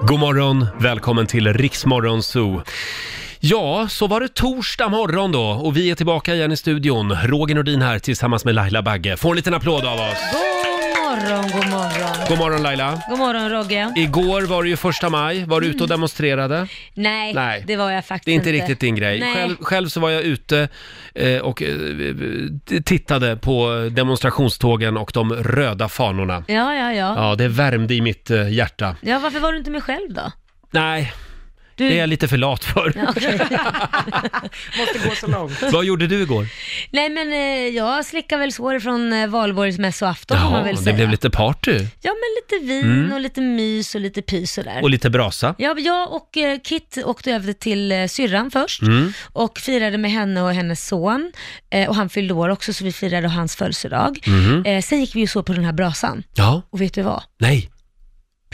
God morgon, välkommen till Riksmorgon Zoo. Ja, så var det torsdag morgon då och vi är tillbaka igen i studion. Roger Nordin här tillsammans med Laila Bagge. Få en liten applåd av oss. God morgon, god morgon. God morgon Laila. God morgon Rogge. Igår var det ju första maj. Var du ute och demonstrerade? Nej, Nej. det var jag faktiskt Det är inte riktigt din grej. Nej. Själv, själv så var jag ute eh, och eh, tittade på demonstrationstågen och de röda fanorna. Ja, ja, ja. Ja, det värmde i mitt eh, hjärta. Ja, varför var du inte med själv då? Nej, Du... det är jag lite för lat för. Mm. Ja, okej. Måste gå så långt. Vad gjorde du igår? Nej men eh, jag slickar väl sår från eh, valborgsmässoafton får man Jaha, väl det säga. blev lite party Ja men lite vin och lite mys och lite pys och där. och lite brasa. Ja, jag och eh, Kit åkte över till eh, syrran först Mm. och firade med henne och hennes son. Eh, Och han fyllde år också så vi firade hans födelsedag. Mm-hmm. Eh, Sen gick vi ju så på den här brasan Ja, och vet du vad? nej.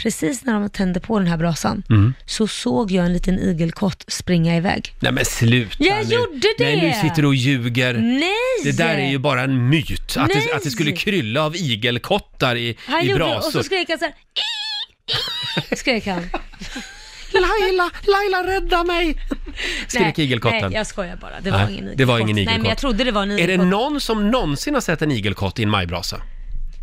Precis när de tände på den här brasan Mm. så såg jag en liten igelkott springa iväg. Nej men sluta Jag nu. gjorde det! Nej, nu sitter du och ljuger. Nej! Det där är ju bara en myt, att det, Nej. att det skulle krylla av igelkottar i, han i gjorde det, brasor. Och så skrek han så här. "Ii, ii", Skrek han. Laila, Laila rädda mig! Skrek Nej, igelkotten. Nej, jag skojar bara. Det var Nej, ingen igelkott. det var ingen Nej, men jag igelkott. trodde det var en Är det igelkott. någon som någonsin har sett en igelkott i en majbrasa?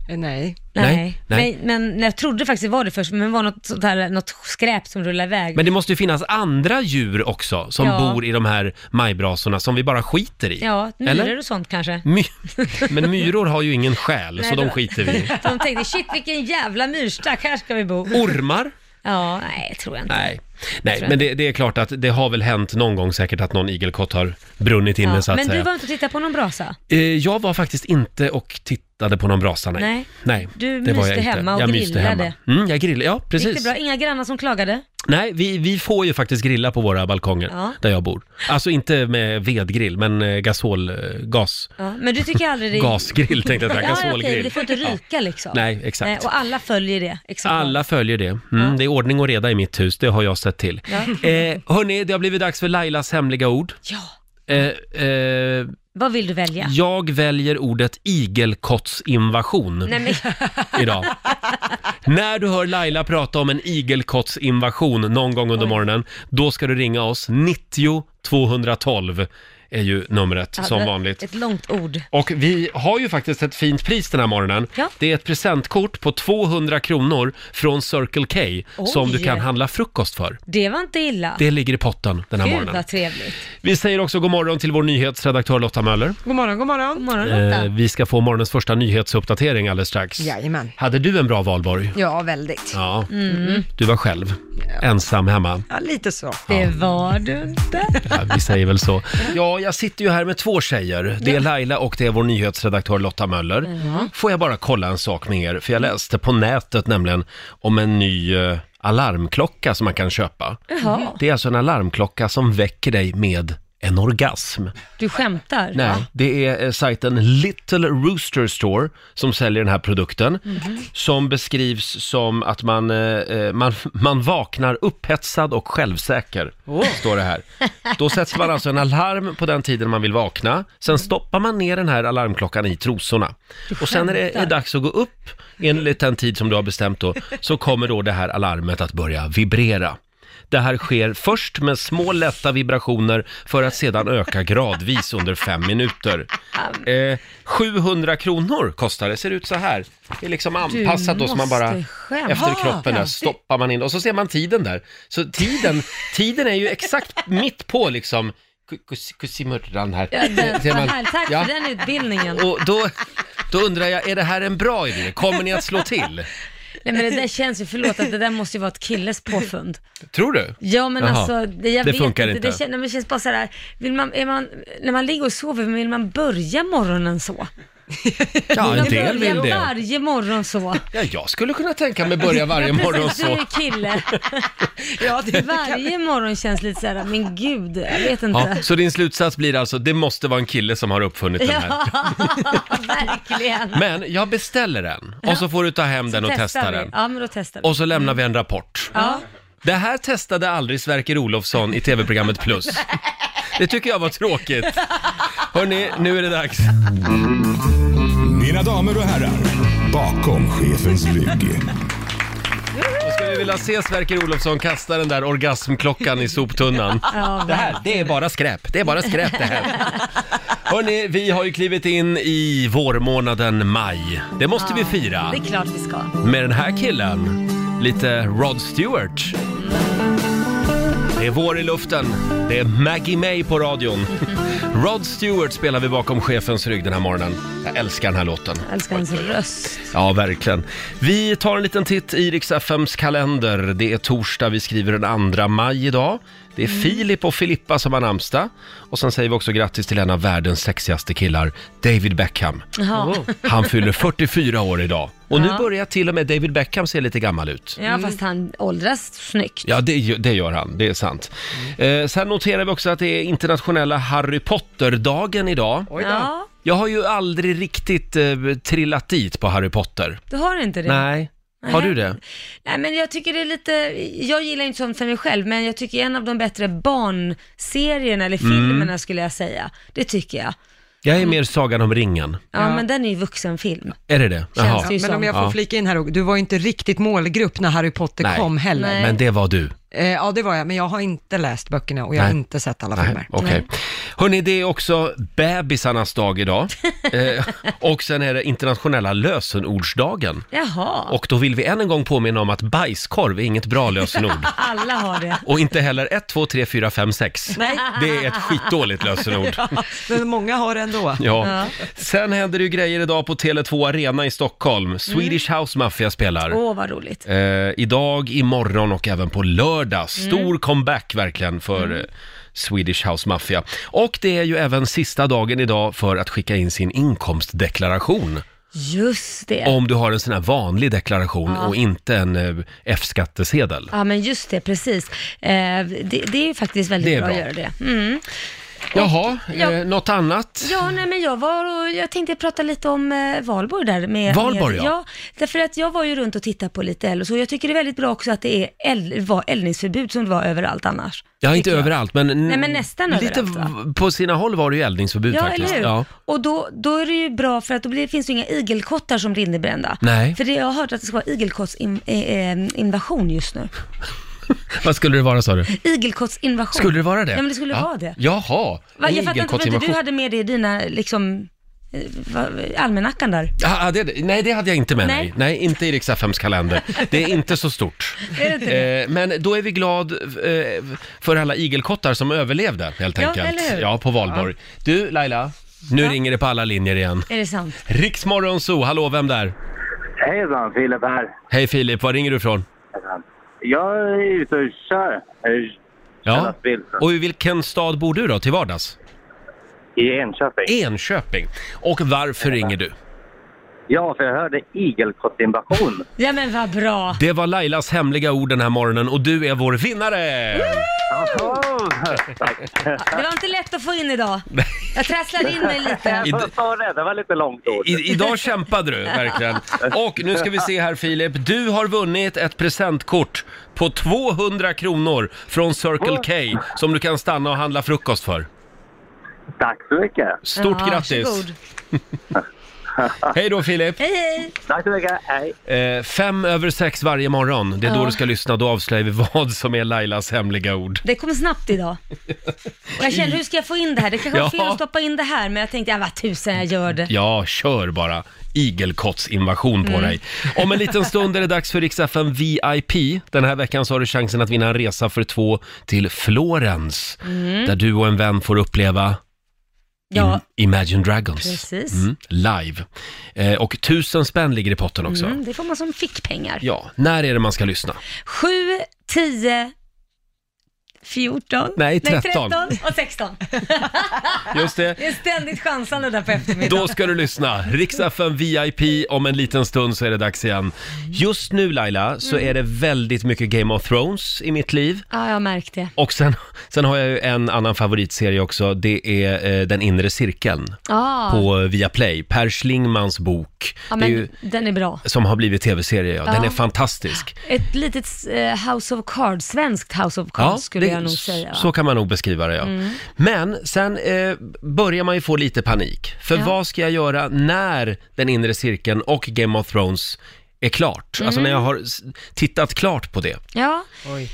Eh, Nej. Nej, Nej, nej. nej. Men, men jag trodde faktiskt det var det först, men det var något, sånt här, något skräp som rullade iväg. Men det måste ju finnas andra djur också som Ja. bor i de här majbrasorna som vi bara skiter i. ja, myror Eller? och sånt kanske. My- men myror har ju ingen själ, Nej, så de då- skiter vi i. För de tänkte, shit vilken jävla myrstack, här ska vi bo. Ormar? Ja, nej, tror jag inte. Nej. Nej, men det, det är klart att det har väl hänt någon gång säkert att någon igelkott har brunnit inne Ja. så att Men du säga. var inte och tittade på någon brasa? Eh, Jag var faktiskt inte och tittade på någon brasa, nej. Nej. nej Du det var jag myste inte. hemma och jag myste grillade. hemma. Mm, jag grillade, ja Gick det precis. bra? Inga grannar som klagade? Nej, vi, vi får ju faktiskt grilla på våra balkonger Ja. där jag bor. Alltså inte med vedgrill, men eh, gasol, eh, gas, Ja. Men du tycker aldrig det... gasgrill tänkte jag säga, Ja, ja, okej, gasolgrill. det får inte ryka liksom. Nej, exakt. och alla följer det. Exakt. Alla följer det. Mm, Det är ordning och reda i mitt hus, det har jag sett till. Ja. Eh, hörni, det har blivit dags för Lailas hemliga ord. ja. Eh, eh, Vad vill du välja? Jag väljer ordet igelkottsinvasion Nej, men, idag. När du hör Laila prata om en igelkottsinvasion någon gång under morgonen, då ska du ringa oss. 90 212 är ju numret ja, som det- vanligt. Ett långt ord. Och vi har ju faktiskt ett fint pris den här morgonen. Ja. Det är ett presentkort på 200 kronor från Circle K som du kan handla frukost för. Det var inte illa. Det ligger i potten den här Gud morgonen. vad trevligt. Vi säger också god morgon till vår nyhetsredaktör Lotta Möller. God morgon, god God morgon. morgon Lotta. Eh, vi ska få morgonens första nyhetsuppdatering alldeles strax. Jajamän. Hade du en bra valborg? Ja, väldigt. Ja. Ja, du var själv. Ensam hemma. lite så. det var du inte. Ja, vi säger väl så. Ja, jag sitter ju här med två tjejer. Det är Laila och det är vår nyhetsredaktör Lotta Möller. Får jag bara kolla en sak med er? För jag läste på nätet nämligen om en ny eh, alarmklocka som man kan köpa. Jaha, Det är alltså en alarmklocka som väcker dig med en orgasm. du skämtar? Nej, det är eh, sajten Little Rooster Store som säljer den här produkten. Som beskrivs som att man, eh, eh, man, man vaknar upphetsad och självsäker, står det här. Då sätts man alltså en alarm på den tiden man vill vakna. Sen stoppar man ner den här alarmklockan i trosorna. Och sen när det är skämtar. dags att gå upp, enligt den tid som du har bestämt då, så kommer då det här alarmet att börja vibrera. Det här sker först med små lätta vibrationer för att sedan öka gradvis under fem minuter. Eh, 700 kronor kostar det, ser ut så här. Det är liksom anpassat då så man bara måste skämta. efter kroppen där stoppar man in och så ser man tiden där. Så tiden, tiden är ju exakt mitt på liksom ku- kus- kussimurran här. Ja, den, Ser vad man- härligt. Tack Ja. för den utbildningen. Och då, då undrar jag, är det här en bra idé? Kommer ni att slå till? Nej men det där känns ju, förlåt att det där måste ju vara ett killes påfund. Tror du? Ja men Jaha. alltså, det, jag Det vet funkar inte. inte. Det, känns, nej, men det känns bara sådär, vill man, är man, när man ligger och sover, vill man börja morgonen så? Ja, en Man del vill börjar det. varje morgon så. Ja, jag skulle kunna tänka mig börja varje ja, precis, morgon Du så. är ju kille. Ja, det... Varje morgon känns lite såhär, men gud, jag vet Ja, inte. så din slutsats blir alltså, det måste vara en kille som har uppfunnit den här. Ja, verkligen. Men jag beställer den och så får du ta hem den och Testar testa vi. den. Ja, men då testar vi. Och så lämnar vi en rapport. Ja. Det här testade aldrig Sverker Olofsson i tv-programmet Plus. Det tycker jag var tråkigt. Hörni, nu är det dags. Mina damer och herrar, bakom chefens rygg. Då ska vi ju vilja se Sverker Olofsson kasta den där orgasmklockan i soptunnan. Ja, Det här, det är bara skräp. Det är bara skräp det här. Hörni, vi har ju klivit in i vårmånaden maj. Det måste vi fira. det är klart vi ska. Med den här killen. Lite Rod Stewart. Det är vår i luften. Det är Maggie May på radion. Rod Stewart spelar vi bakom chefens rygg den här morgonen. Jag älskar den här låten. Jag älskar hans röst. Ja, verkligen. Vi tar en liten titt i Rix FMs kalender. Det är torsdag, vi skriver den 2 maj idag. Det Mm. är Filip och Filippa som har namnsdag. Och sen säger vi också grattis till en av världens sexigaste killar, David Beckham. Ja, Han fyller 44 år idag. Och nu Ja. börjar till och med David Beckham se lite gammal ut. ja fast han åldras snyggt. Ja, det, gö- det gör han. Det är sant. Mm. Eh, sen noterar vi också att det är internationella Harry Potter-dagen idag. Oj då. Ja, Jag har ju aldrig riktigt eh, trillat dit på Harry Potter. du har inte det? Nej. Har Nej. du det? Nej men jag tycker det är lite, jag gillar inte sånt för mig själv, men jag tycker en av de bättre barnserierna Mm. eller filmerna skulle jag säga. Det tycker jag. Jag är mer Sagan om ringen. Ja, Ja. men den är ju vuxenfilm. Är det det? Känns Jaha. det ju Men om jag Ja. får flika in här, och- du var ju inte riktigt målgrupp när Harry Potter Nej. kom heller. Nej. Men det var du. Eh, ja, det var jag, men jag har inte läst böckerna och jag har Nej. inte sett alla Nej, filmer. okej. Hörni, det är också bebisarnas dag idag. eh, och sen är det internationella lösenordsdagen. Jaha, Och då vill vi än en gång påminna om att bajskorv är inget bra lösenord. alla har det. Och inte heller 1, 2, 3, 4, 5, 6. Nej, Det är ett skitdåligt lösenord. men många har det ändå. Ja. Ja. Sen händer det ju grejer idag på Tele2 Arena i Mm. Stockholm. Swedish House Mafia spelar. Åh, vad roligt. eh, idag, imorgon och även på Mm. lördag. Stor comeback verkligen för eh, Swedish House Mafia. Och det är ju även sista dagen idag för att skicka in sin inkomstdeklaration. Just det. Om du har en sån här vanlig deklaration och inte en eh, F-skattesedel. Ja, men just det, precis. Eh, det, det är ju faktiskt väldigt Det är bra, bra. att göra det. Mm. Jaha, Ja. eh, något annat? Ja, nej, men jag var och, jag tänkte prata lite om eh, Valborg där. Med, Valborg, ja. med, ja. Därför att jag var ju runt och tittade på lite eld och så. Jag tycker det är väldigt bra också att det är eld, var eldningsförbud som det var överallt annars. Ja, inte tycker jag. överallt, men, Nej, men nästan lite överallt, va? v- på sina håll var det ju eldningsförbud Ja, faktiskt. eller hur? Och då, då är det ju bra för att då blir, finns det ju inga igelkottar som blir innebrända. Nej. För det, jag har hört att det ska vara igelkottsinvasion just nu. Vad skulle det vara sa du? Igelkottsinvasion. Skulle det vara det? Ja, men det skulle vara det. Jaha, Va, jag fattar inte varför inte du igelkottsinvasion. hade med det i dina liksom, eh, va- almanackan där. Ah, ah, det, nej, det hade jag inte med Nej. mig. Nej, inte i Rix FMs kalender. Det är inte så stort. Är det inte det? Eh, men då är vi glad eh, för alla igelkottar som överlevde, helt Ja, enkelt. eller hur? Ja, på valborg. Du, Laila, nu ringer det på alla linjer igen. Är det sant? Riksmorgon Zoo, hallå, vem där? Hejsan, Filip här. Hej Filip, var ringer du ifrån? Hejsan. Jag är ute och kör eh, Ja. Lastbil. Och i vilken stad bor du då, till vardags? i Enköping. Enköping. Och varför ringer du? Ja, för jag hörde igelkottsinvasion. Ja men vad bra. Det var Lailas hemliga ord den här morgonen och du är vår vinnare! Oh, tack. Det var inte lätt att få in idag. Jag trasslade in mig lite. Jag var så rädd, det var lite långt ord. I, idag kämpade du verkligen. Och nu ska vi se här Filip, du har vunnit ett presentkort på 200 kronor från Circle K som du kan stanna och handla frukost för. Tack så mycket. Stort Ja, grattis! varsågod. Hej då Filip! Hej hej! Tack så mycket. Hej. Eh, fem över sex varje morgon, det är då Ja. du ska lyssna, då avslöjar vi vad som är Lailas hemliga ord. Det kom snabbt idag. Och jag kände, hur ska jag få in det här? Det kanske var Ja. fel att stoppa in det här, men jag tänkte, ja vad tusen jag gör det. Ja, kör bara igelkottsinvasion på Mm. dig. Om en liten stund är det dags för Rix FM VIP. Den här veckan så har du chansen att vinna en resa för två till Florens, där du och en vän får uppleva Mm. Ja, Im- Imagine Dragons. Precis. Mm, live. Eh, och tusen spänn ligger i potten också. mm, det får man som fickpengar. Ja, när är det man ska lyssna? 7, 10, 14, Nej, 13. 13 och 16. Just det. Det är ständigt chansande där på eftermiddagen. Då ska du lyssna. Rix FM VIP, om en liten stund så är det dags igen. Mm. Just nu Laila, så är det väldigt mycket Game of Thrones i mitt liv. Ja, jag märkte det. Och sen, sen har jag ju en annan favoritserie också. Det är eh, Den inre cirkeln Ah, på Viaplay. Per Schlingmans bok. ja, det är men ju, den är bra. som har blivit tv-serie, ja. Den Ja. är fantastisk. Ett litet eh, House of Cards, svenskt House of Cards skulle det- jag nog säga. Mm. va? Så kan man nog beskriva det ja. Men sen eh, börjar man ju få lite panik. För Ja. vad ska jag göra när Den inre cirkeln och Game of Thrones är klart, alltså Mm. när jag har s- tittat klart på det, Ja,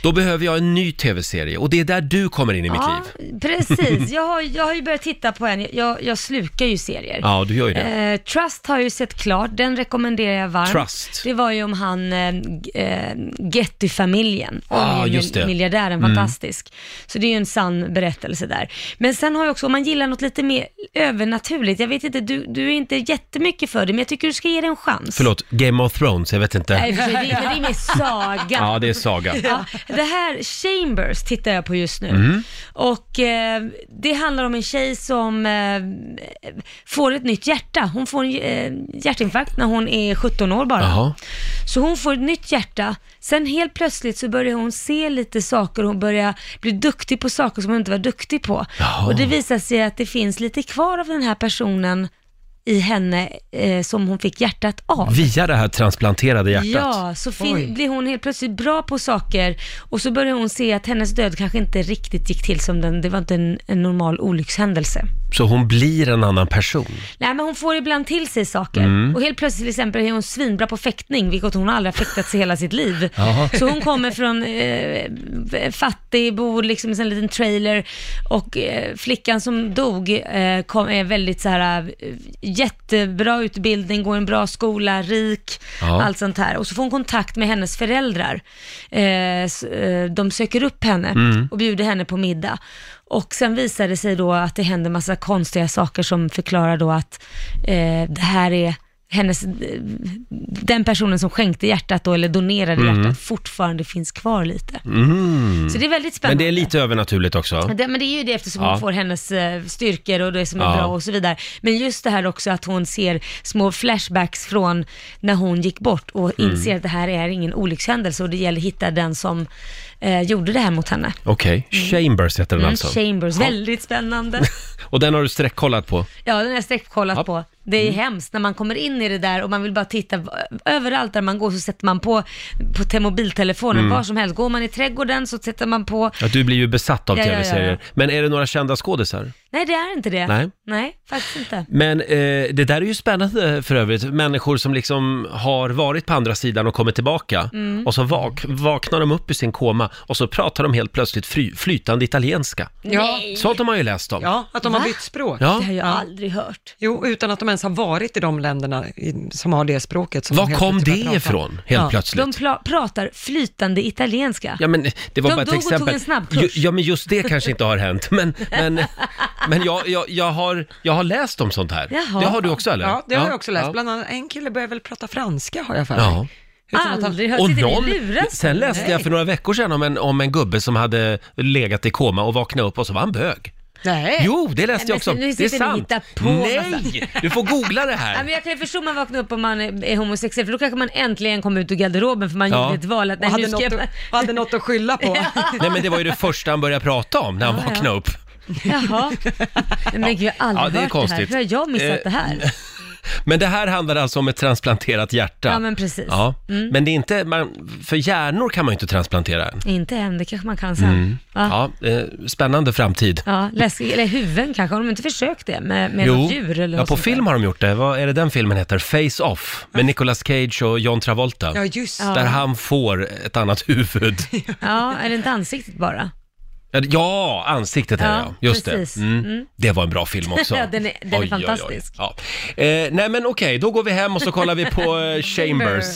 då behöver jag en ny tv-serie och det är där du kommer in i mitt ja liv. precis. Jag har, jag har ju börjat titta på en, jag, jag slukar ju serier. Ja, du gör ju det. Eh, Trust har jag ju sett klart, den rekommenderar jag varmt. Trust. Det var ju om han eh, G- eh, Getty-familjen, om Ah, mil- just det. Mm. miljardären, fantastisk. Så det är ju en sann berättelse där. Men sen har jag också, om man gillar något lite mer övernaturligt, jag vet inte, du, du är inte jättemycket för det, men jag tycker du ska ge det en chans. Förlåt, Game of Thrones, jag vet Nej, inte. för sig, det, är- det är mer saga. Ja, det är saga. Ja, det här, Chambers, tittar jag på just nu. Mm. Och eh, det handlar om en tjej som eh, får ett nytt hjärta. Hon får en eh, hjärtinfarkt när hon är 17 år bara. Jaha. Så hon får ett nytt hjärta. Sen helt plötsligt så börjar hon se lite saker. Hon börjar bli duktig på saker som hon inte var duktig på. Jaha. Och det visar sig att det finns lite kvar av den här personen i henne eh, som hon fick hjärtat av. Via det här transplanterade hjärtat. Ja, så fin- Oj. blir hon helt plötsligt bra på saker och så börjar hon se att hennes död kanske inte riktigt gick till som den, det var inte en, en normal olyckshändelse. Så hon blir en annan person. Nej men hon får ibland till sig saker Mm. och helt plötsligt till exempel är hon svinbra på fäktning, vilket hon aldrig har fäktats i hela sitt liv. Jaha. Så hon kommer från eh, fattig, bor liksom i en liten trailer och eh, flickan som dog eh, kom, är väldigt så här eh, jättebra utbildning, går i en bra skola, rik, Ja. allt sånt här. Och så får hon kontakt med hennes föräldrar. Eh, s- eh, de söker upp henne och bjuder henne på middag. Och sen visar det sig då att det händer massa konstiga saker som förklarar då att eh, det här är hennes, eh, den personen som skänkte hjärtat då, eller donerade hjärtat fortfarande finns kvar lite. Så det är väldigt Mm. Men spännande. det är lite övernaturligt också. Det, men det är ju det eftersom Ja. hon får hennes eh, styrkor och det som är Ja. bra och så vidare. Men just det här också att hon ser små flashbacks från när hon gick bort och Mm. inser att det här är ingen olyckshändelse och det gäller att hitta den som eh, gjorde det här mot henne. Okej, Chambers heter den Mm, alltså. Chambers, väldigt spännande. Och den har du streckkollat på. Ja, den har jag streckkollat Ja. Mm. på. Det är hemskt när man kommer in i det där och man vill bara titta. v- Överallt där man går så sätter man på, på te- mobiltelefonen, Mm. var som helst. Går man i trädgården så sätter man på. Ja, du blir ju besatt av Ja, ja, ja, ja. tv-serier. Men är det några kända skådisar? Nej, det är inte det. Nej. faktiskt inte. Men eh, det där är ju spännande för övrigt. Människor som liksom har varit på andra sidan och kommit tillbaka Mm. och så vak- vaknar de upp i sin koma och så pratar de helt plötsligt fry- flytande italienska. Ja, Sånt har man ju läst om. ja att de Va? har bytt språk. Det Ja. har jag aldrig hört. Jo, utan att de ens har varit i de länderna i, som har det språket. Som de Var helt kom det plötsligt börjar prata. ifrån helt Ja. De plötsligt? pla- pratar flytande italienska. Ja, men det var De bara ett dog och tog exempel. en snabbkurs. Ju- Ja, men just det kanske inte har hänt. Men, men, men jag, jag, jag, har, jag har läst om sånt här. Jaha. Det har du också eller? Ja, det har jag också läst. Ja. Bland annat en kille börjar väl prata franska har jag för mig. Ja. Utan att han- Aldrig hört. Och Sitter någon, ni i luras? sen läste jag för några veckor sedan om en, om en gubbe som hade legat i koma och vaknade upp och så var han bög. Nej. Jo, det läste men jag också om. nu Det är sitter ni och sant. hittar på Nej, du får googla det Ja, här. men jag kan ju förstå om man vaknar upp om man är är homosexuell, för då kanske man äntligen kom ut ur garderoben för man Ja. gjorde ett val att Och nej, hade nu ska något, jag... att, och hade något att skylla på. Nej, men det var ju det första han började prata om när han Ja, ja. vaknade upp. Jaha. Men gud, jag har Ja, aldrig det är hört det här. konstigt. Hur har jag missat Eh, det här? Men det här handlar alltså om ett transplanterat hjärta. Ja, men precis. Mm. Ja. Men det är inte, man, för hjärnor kan man ju inte transplantera än. Inte än, det kanske man kan sen. Va? Ja. Ja, eh, spännande framtid. läskigt. Eller huvuden kanske, har de inte försökt det med, med något djur eller ja, något på sånt film där? Ah. har de gjort det. Vad är det den filmen heter? Face Off med Nicolas Cage och John Travolta. Ja, just det. Ja. Där han får ett annat huvud. Ja, är det inte ansiktet bara? Ja, ansiktet här Ja, ja. Just precis. det. Mm. Det var en bra film också. Ja, den är- den är fantastisk. Oj, Ja. Eh, nej men okej, då går vi hem och så kollar vi på eh, Chambers.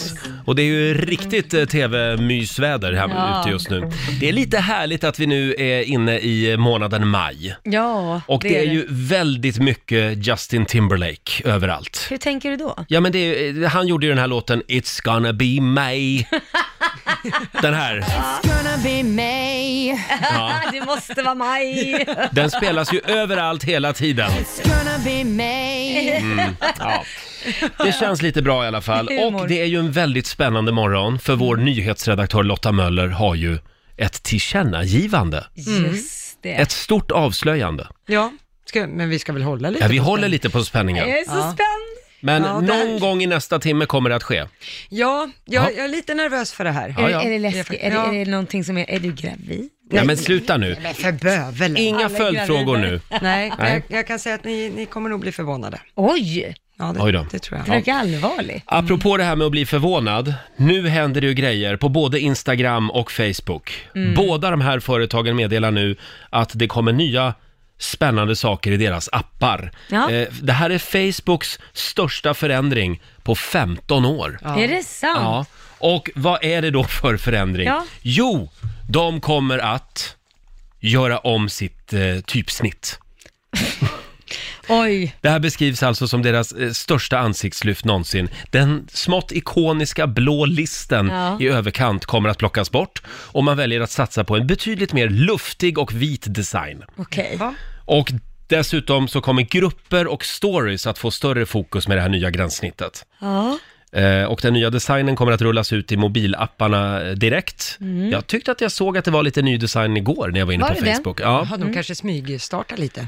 Och det är ju riktigt eh, tv-mysväder här Ja. ute just nu. Det är lite härligt att vi nu är inne i eh, månaden maj. Ja, Och det, är ju väldigt mycket Justin Timberlake överallt. Hur tänker du då? Ja men det är, eh, han gjorde ju den här låten It's gonna be May. den här. gonna be May. det måste vara maj. Den spelas ju överallt hela tiden. Mm. It's gonna be May. Det känns lite bra i alla fall. Humor. Och det är ju en väldigt spännande morgon för vår nyhetsredaktör Lotta Möller har ju ett tillkännagivande. Just det. Ett stort avslöjande. Ja, ska, men vi ska väl hålla lite. Ja, vi håller lite på spänningen. Jag är så spänd. Men Ja, det här- någon gång i nästa timme kommer det att ske. Ja, jag, jag är lite nervös för det här. Ja, Är, ja. är det läskigt? Är, det, Ja. är det någonting som är... Är du gravid? Ja, men sluta nu. Men för bövelen. Inga Alla följdfrågor gravida. nu. Nej, men Jag, jag kan säga att ni, ni kommer nog bli förvånade. Oj! Ja, det, Oj då. det tror jag. Den verkar allvarlig. Apropå det här med att bli förvånad, nu händer det ju grejer på både Instagram och Facebook. Mm. Båda de här företagen meddelar nu att det kommer nya spännande saker i deras appar. Ja. Eh, Det här är Facebooks största förändring på 15 år. Är det sant? Ja. Och vad är det då för förändring? Ja. Jo, de kommer att göra om sitt eh, typsnitt. Oj, Det här beskrivs alltså som deras eh, största ansiktslyft någonsin. Den smått ikoniska blå listen Ja. i överkant kommer att plockas bort och man väljer att satsa på en betydligt mer luftig och vit design. okej. Ja. Och dessutom så kommer grupper och stories att få större fokus med det här nya gränssnittet. Ja. Eh, Och den nya designen kommer att rullas ut i mobilapparna eh, direkt. Jag tyckte att jag såg att det var lite ny design igår när jag var inne Mm. Var på det det? Facebook. Ja. Jaha, de kanske smygstartar lite.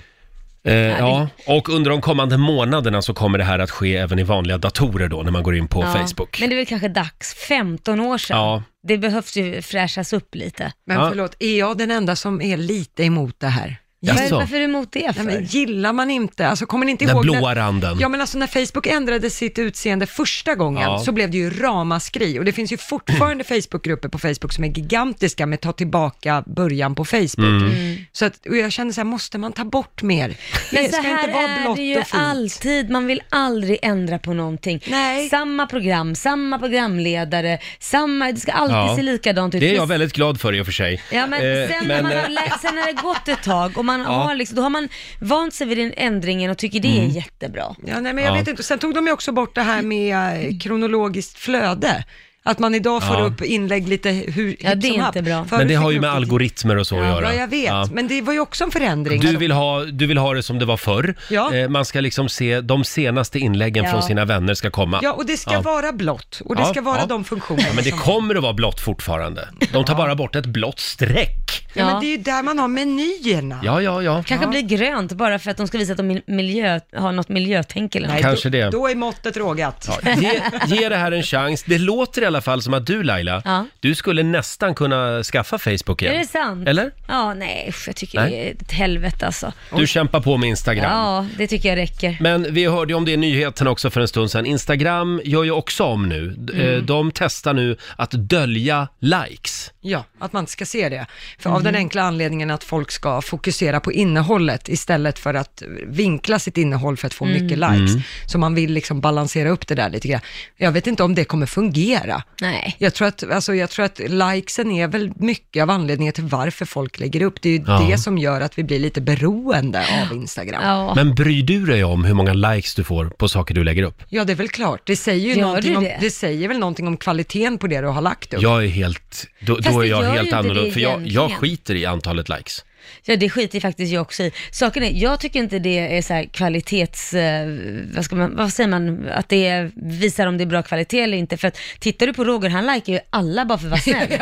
Eh, ja, och under de kommande månaderna så kommer det här att ske även i vanliga datorer då när man går in på Ja. Facebook. Men det är väl kanske dags, 15 år sedan. Ja. Det behövs ju fräschas upp lite. Men Ja. förlåt, är jag den enda som är lite emot det här? Jaså? Var, varför är du emot det för? Nej, men gillar man inte, alltså kommer ni inte Den ihåg blåa randen. Ja men alltså när Facebook ändrade sitt utseende första gången Ja. så blev det ju ramaskri och det finns ju fortfarande Facebookgrupper på Facebook som är gigantiska med ta tillbaka början på Facebook. Mm. Så att, och jag känner så här, måste man ta bort mer? Men det så ska här inte vara är blått det ju och fint. alltid, man vill aldrig ändra på någonting. Nej. Samma program, samma programledare, samma, det ska alltid Ja. se likadant ut. Det är jag Men- väldigt glad för i och för sig. Ja, men Eh, sen, när man eh, har, lä- sen har det gått ett tag och man har liksom, då har man vant sig vid den ändringen och tycker det Mm. är jättebra. Ja, nej, men jag Ja. vet inte. Sen tog de ju också bort det här med eh, kronologiskt flöde. Att man idag får Ja. upp inlägg lite hur hipp Ja, det är som happ. inte bra. Förut men det fick har ju man med upp lite- algoritmer och så att Ja, göra. ja, jag vet. Ja. Men det var ju också en förändring. Du vill, ha, du vill ha det som det var förr. Ja. Eh, man ska liksom se de senaste inläggen Ja. från sina vänner ska komma. Ja, och det ska Ja. vara blått. Och det Ja, ska vara ja. de funktionerna. Ja, men det som- kommer att vara blått fortfarande. De tar bara bort ett blått streck. ja, Ja. men det är ju där man har menyerna. Ja, ja, ja. Kanske blir grönt bara för att de ska visa att de mil- miljö, har något miljötänk eller något. Nej, Kanske då, det. Då är måttet rågat. Ge, ge det här en chans. Det låter i alla fall som att du Laila, Ja. du skulle nästan kunna skaffa Facebook igen. Är det sant? Eller? Ja, nej usch, jag tycker Nej. det är ett helvete alltså. Du kämpar på med Instagram. Ja, det tycker jag räcker. Men vi hörde ju om det i nyheten också för en stund sedan. Instagram gör ju också om nu. D- eh, Mm. De testar nu att dölja likes. Ja, att man inte ska se det. För Av den Mm. enkla anledningen att folk ska fokusera på innehållet istället för att vinkla sitt innehåll för att få mycket Mm. likes. Så man vill liksom balansera upp det där lite grann. Jag vet inte om det kommer fungera. Nej. Jag tror, att, alltså jag tror att likesen är väl mycket av anledningen till varför folk lägger upp. Det är ju Ja. det som gör att vi blir lite beroende av Instagram. Ja, Ja. Men bryr du dig om hur många likes du får på saker du lägger upp? det är väl klart. Det säger, ju Gör någonting du om, det? det säger väl någonting om kvaliteten på det du har lagt upp. Jag är helt... Då, Fast då är det jag gör ju helt inte annorlunda, det för jag, jag egentligen. skiter i antalet likes. Ja, det skiter faktiskt jag också i. Saken är, jag tycker inte det är så här kvalitets... Eh, vad, ska man, vad säger man? Att det är, visar om det är bra kvalitet eller inte. För att tittar du på Roger, han likar ju alla bara för att vara snäll.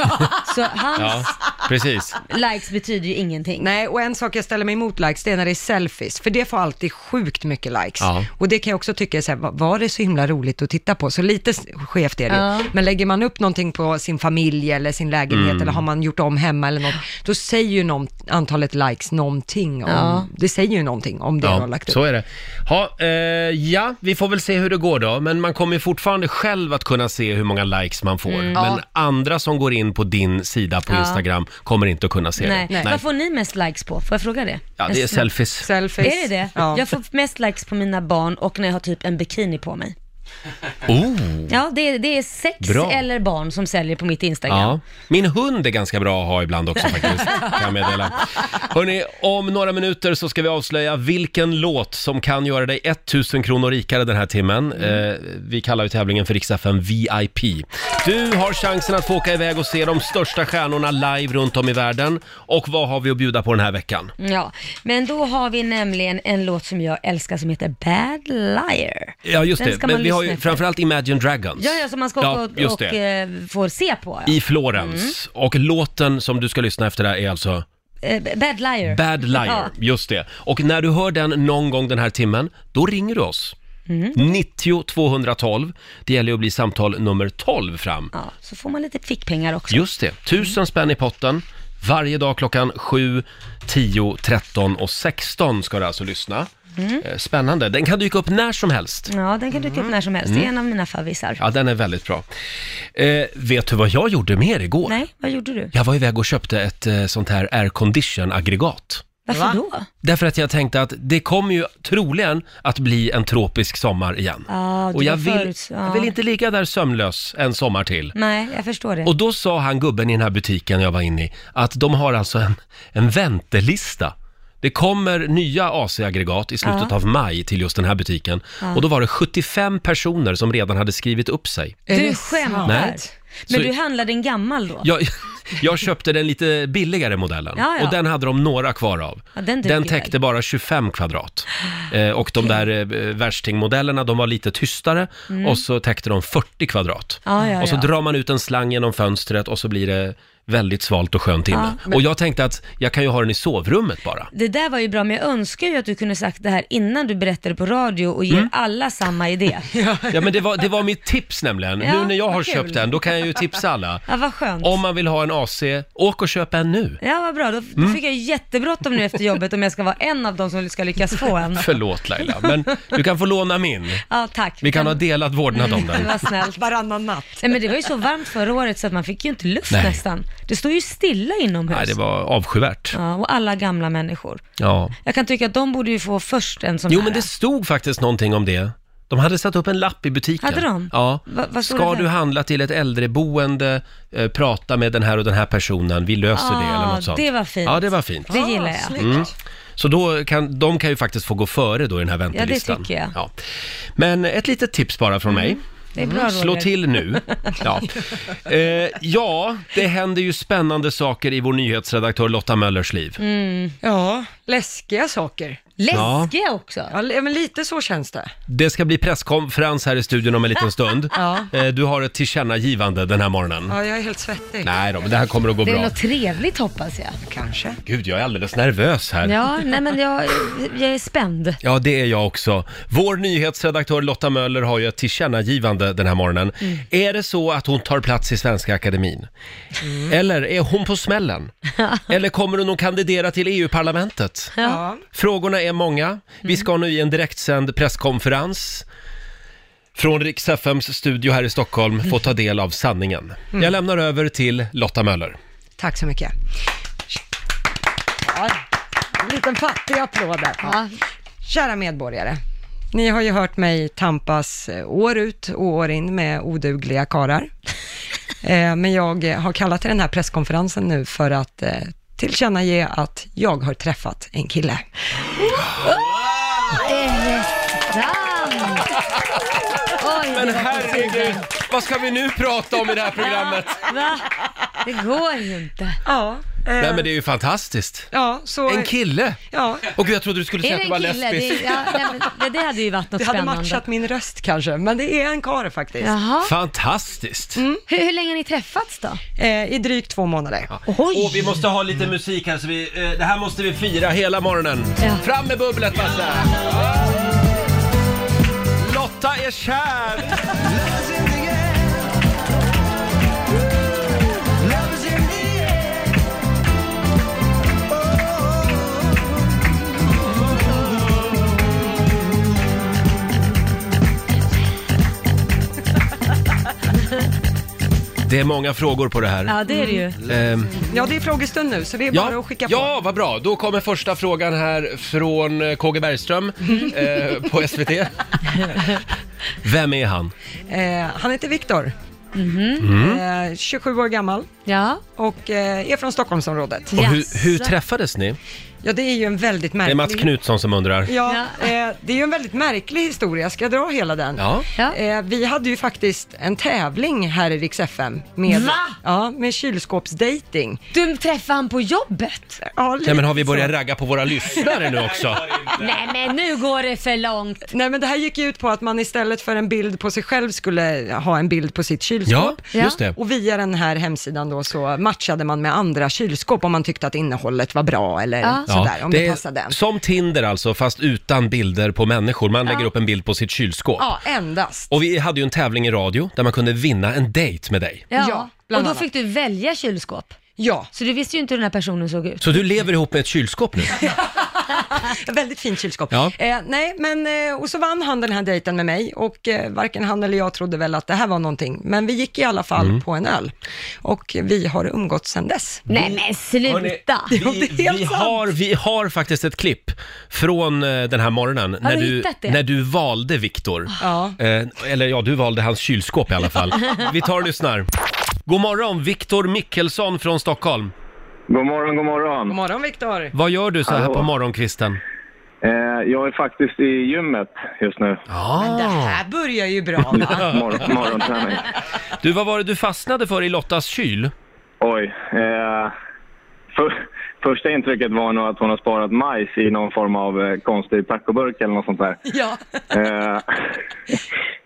Så hans Ja, precis. likes betyder ju ingenting. Nej, och en sak jag ställer mig emot likes, det är när det är selfies, för det får alltid sjukt mycket likes. Ja. Och det kan jag också tycka är så här, va- var det så himla roligt att titta på? Så lite s- skevt är det ju. Ja. Men lägger man upp någonting på sin familj eller sin lägenhet Mm. eller har man gjort om hemma eller något, då säger ju någon, antalet likes någonting om, Ja. det säger ju någonting om det du har Ja, lagt upp. så är det. Ha, eh, ja, vi får väl se hur det går då, men man kommer ju fortfarande själv att kunna se hur många likes man får. Men andra som går in på din sida på Mm. Ja. Instagram kommer inte att kunna se Nej. det. Vad får ni mest likes på? Får jag fråga det? Ja, det är selfies. Selfies. Är det det? Ja. Jag får mest likes på mina barn och när jag har typ en bikini på mig. Oh. Ja, det är, det är sex Bra. eller barn som säljer på mitt Instagram. Ja. Min hund är ganska bra att ha ibland också faktiskt, kan jag meddela. Hörrni, om några minuter så ska vi avslöja vilken låt som kan göra dig 1000 kronor rikare den här timmen. Eh, vi kallar ju tävlingen för Riks-FM VIP. Du har chansen att få åka iväg och se de största stjärnorna live runt om i världen. Och vad har vi att bjuda på den här veckan? Ja, men då har vi nämligen en låt som jag älskar som heter Bad Liar. Ja, just Den det. ska Men man vi har lyssna ju efter. framförallt Imagine Dragons. Ja, ja, som man ska Ja, åka och, just och Mm. det. eh, får se på. Ja. I Florens. Och låten som du ska lyssna efter där är alltså? Eh, Bad Liar. Bad Liar, Ja. just det. Och när du hör den någon gång den här timmen, då ringer du oss. Mm. 90 212. Det gäller ju att bli samtal nummer 12 fram. Ja, så får man lite fickpengar också. Just det, 1000 spänn i potten. Varje dag klockan 7, 10, 13 och 16 ska du alltså lyssna. Mm. Eh, Spännande. Den kan dyka upp när som helst. Ja, den kan dyka upp när som helst. Det är en av mina favvisar. Mm. Ja, den är väldigt bra. Eh, vet du vad jag gjorde mer igår? Nej, vad gjorde du? Jag var iväg och köpte ett eh, sånt här aircondition-aggregat. Varför Va? då? Därför att jag tänkte att det kommer ju troligen att bli en tropisk sommar igen. Ja, Ah, det och jag var vill, förut, ja. jag vill inte ligga där sömnlös en sommar till. Nej, jag förstår det. Och då sa han, gubben i den här butiken jag var inne i, att de har alltså en, en väntelista. Det kommer nya AC-aggregat i slutet Ja. av maj till just den här butiken. Och då var det 75 personer som redan hade skrivit upp sig. Är det Du sant? skämtar? Nej. Men Så- du handlade en gammal då? Jag, jag köpte den lite billigare modellen Ja, ja. och den hade de några kvar av. Ja, den duger den täckte bara 25 kvadrat. Eh, och de där eh, värstingmodellerna, de var lite tystare och så täckte de 40 kvadrat. Mm. Ja, ja, och så ja. drar man ut en slang genom fönstret och så blir det väldigt svalt och skönt inne. Och jag tänkte att jag kan ju ha den i sovrummet bara. Det där var ju bra, men jag önskar ju att du kunde sagt det här innan du berättade på radio och Mm. ger alla samma idé. Ja, men det var, det var mitt tips nämligen. Ja, nu när jag har vad kul. köpt den, då kan jag ju tipsa alla. Ja, vad skönt. Om man vill ha en AC, åk och köp en nu. Ja, vad bra. Då, då Mm. fick jag ju jättebråttom nu efter jobbet om jag ska vara en av dem som ska lyckas få en. Förlåt Laila, men du kan få låna min. Ja, tack. Vi kan ha Men- delat vårdnad om den. Det var snällt. Varannan natt. Nej, men det var ju så varmt förra året så att man fick ju inte luft Nej. nästan. Det står ju stilla inomhus. Nej, det var avskyvärt. ja, och alla gamla människor. Ja. Jag kan tycka att de borde ju få först en sån Jo, här. men det stod faktiskt någonting om det. De hade satt upp en lapp i butiken. Hade de? Ja. Va- vad stod Ska det där? du handla till ett äldreboende, eh, prata med den här och den här personen, vi löser det eller Ah, något sånt. det var fint. Ja, det var fint. Det gillar jag. Mm. Så då kan, de kan ju faktiskt få gå före då i den här det väntelistan. tycker jag. Mm. Ja. Men ett litet tips bara från mig. Mm. Det är bra, Roger. Slå till nu. Ja. Eh, ja, det händer ju spännande saker i vår nyhetsredaktör Lotta Möllers liv. Ja, läskiga saker. Läskiga också. Ja, li- men lite så känns det. Det ska bli presskonferens här i studion om en liten stund. Ja. Eh, Du har ett tillkännagivande den här morgonen. Ja, jag är helt svettig. Nej då, men det här kommer att gå Det är bra. något trevligt hoppas jag. Kanske. Gud, jag är alldeles nervös här. Ja. Ja, nej men jag, jag är spänd. det är jag också. Vår nyhetsredaktör Lotta Möller har ju ett tillkännagivande den här morgonen. Är det så att hon tar plats i Svenska Akademin? Eller är hon på smällen? Eller kommer hon att kandidera till EU-parlamentet? Ja. Frågorna är många. Vi ska nu i en direktsänd presskonferens från Rix FMs studio här i Stockholm få ta del av sanningen. Jag lämnar över till Lotta Möller. Tack så mycket. Ja, en liten fattig applåd där. Ja. Kära medborgare. Ni har ju hört mig tampas eh, år ut och år in med odugliga karar. Eh, Men jag eh, har kallat till den här presskonferensen nu för att eh, tillkännage att jag har träffat en kille. Sant! Oj, det var på tiden. vad ska vi nu prata om i det här programmet? Va? Det går ju inte. Ja, Nej men det är ju fantastiskt. ja så... En kille! Ja, Och jag trodde du skulle säga Är att det det var en kille? Det, lesbiskt. är- ja, nej, men det, det hade ju varit något det hade spännande. matchat min röst kanske, men det är en kar faktiskt. Jaha. Fantastiskt! Hur, hur länge har ni träffats då? Eh, I drygt två månader. Oj! Och vi måste ha lite musik här, så vi, eh, det här måste vi fira hela morgonen. Ja. Fram med bubblet Basse! Lotta är kär! Det är många frågor på det här. Ja, det är det ju. Ehm, Ja, det är frågestund nu, så det är bara att skicka på. ja, vad bra. Då kommer första frågan här från eh, KG Bergström Mm. eh, på SVT. Vem är han? Eh, han heter Viktor. Mhm. Mm. Eh, 27 år gammal Ja. och eh, är från Stockholmsområdet. Och Jaså. hur, hur träffades ni? Ja, det är ju en väldigt Det är märklig... Mats Knutsson som undrar. Ja, eh, det är ju en väldigt märklig historia. Ska jag dra hela den? Ja. Ja. Eh, vi hade ju faktiskt en tävling här i Rix FM med, Va? ja, med kylskåpsdating. Du träffade han på jobbet? Ja, Nej, lite men har vi så. börjat ragga på våra lyssnare nu också? Nej men nu går det för långt. Typ. Nej men det här gick ju ut på att man istället för en bild på sig själv skulle ha en bild på sitt kylskåp. Ja, just det. Och via den här hemsidan då så matchade man med andra kylskåp om man tyckte att innehållet var bra eller Ja. sådär, om det, är passade en. Som Tinder alltså, fast utan bilder på människor. Man lägger upp en bild på sitt kylskåp. Ja, endast. Och vi hade ju en tävling i radio där man kunde vinna en dejt med dig. Ja, Ja, och bland då annat. fick du välja kylskåp. Ja, Så du visste ju inte hur den här personen såg ut. Så du lever ihop med ett kylskåp nu? Väldigt fint kylskåp. Ja. Eh, nej, men eh, och så vann han den här dejten med mig och eh, varken han eller jag trodde väl att det här var någonting. Men vi gick i alla fall Mm. på en öl och vi har umgåtts sedan dess. Nej men sluta! vi, det är helt vi, sant. har, vi har faktiskt ett klipp från eh, den här morgonen när du du, hittat det? när du valde Viktor. Ja. Eh, eller ja, du valde hans kylskåp i alla fall. Vi tar och lyssnar. God morgon, Viktor Mickelsson från Stockholm. God morgon, god God morgon. morgon Viktor! Vad gör du så här Hallå. på morgonkvisten? Eh, jag är faktiskt i gymmet just nu. Det Ah. här börjar ju bra va? Mor- morgonträning. Du, vad var det du fastnade för i Lottas kyl? Oj. Eh, för, första intrycket var nog att hon har sparat majs i någon form av eh, konstig tacoburk eller något sånt där. ja. Eh,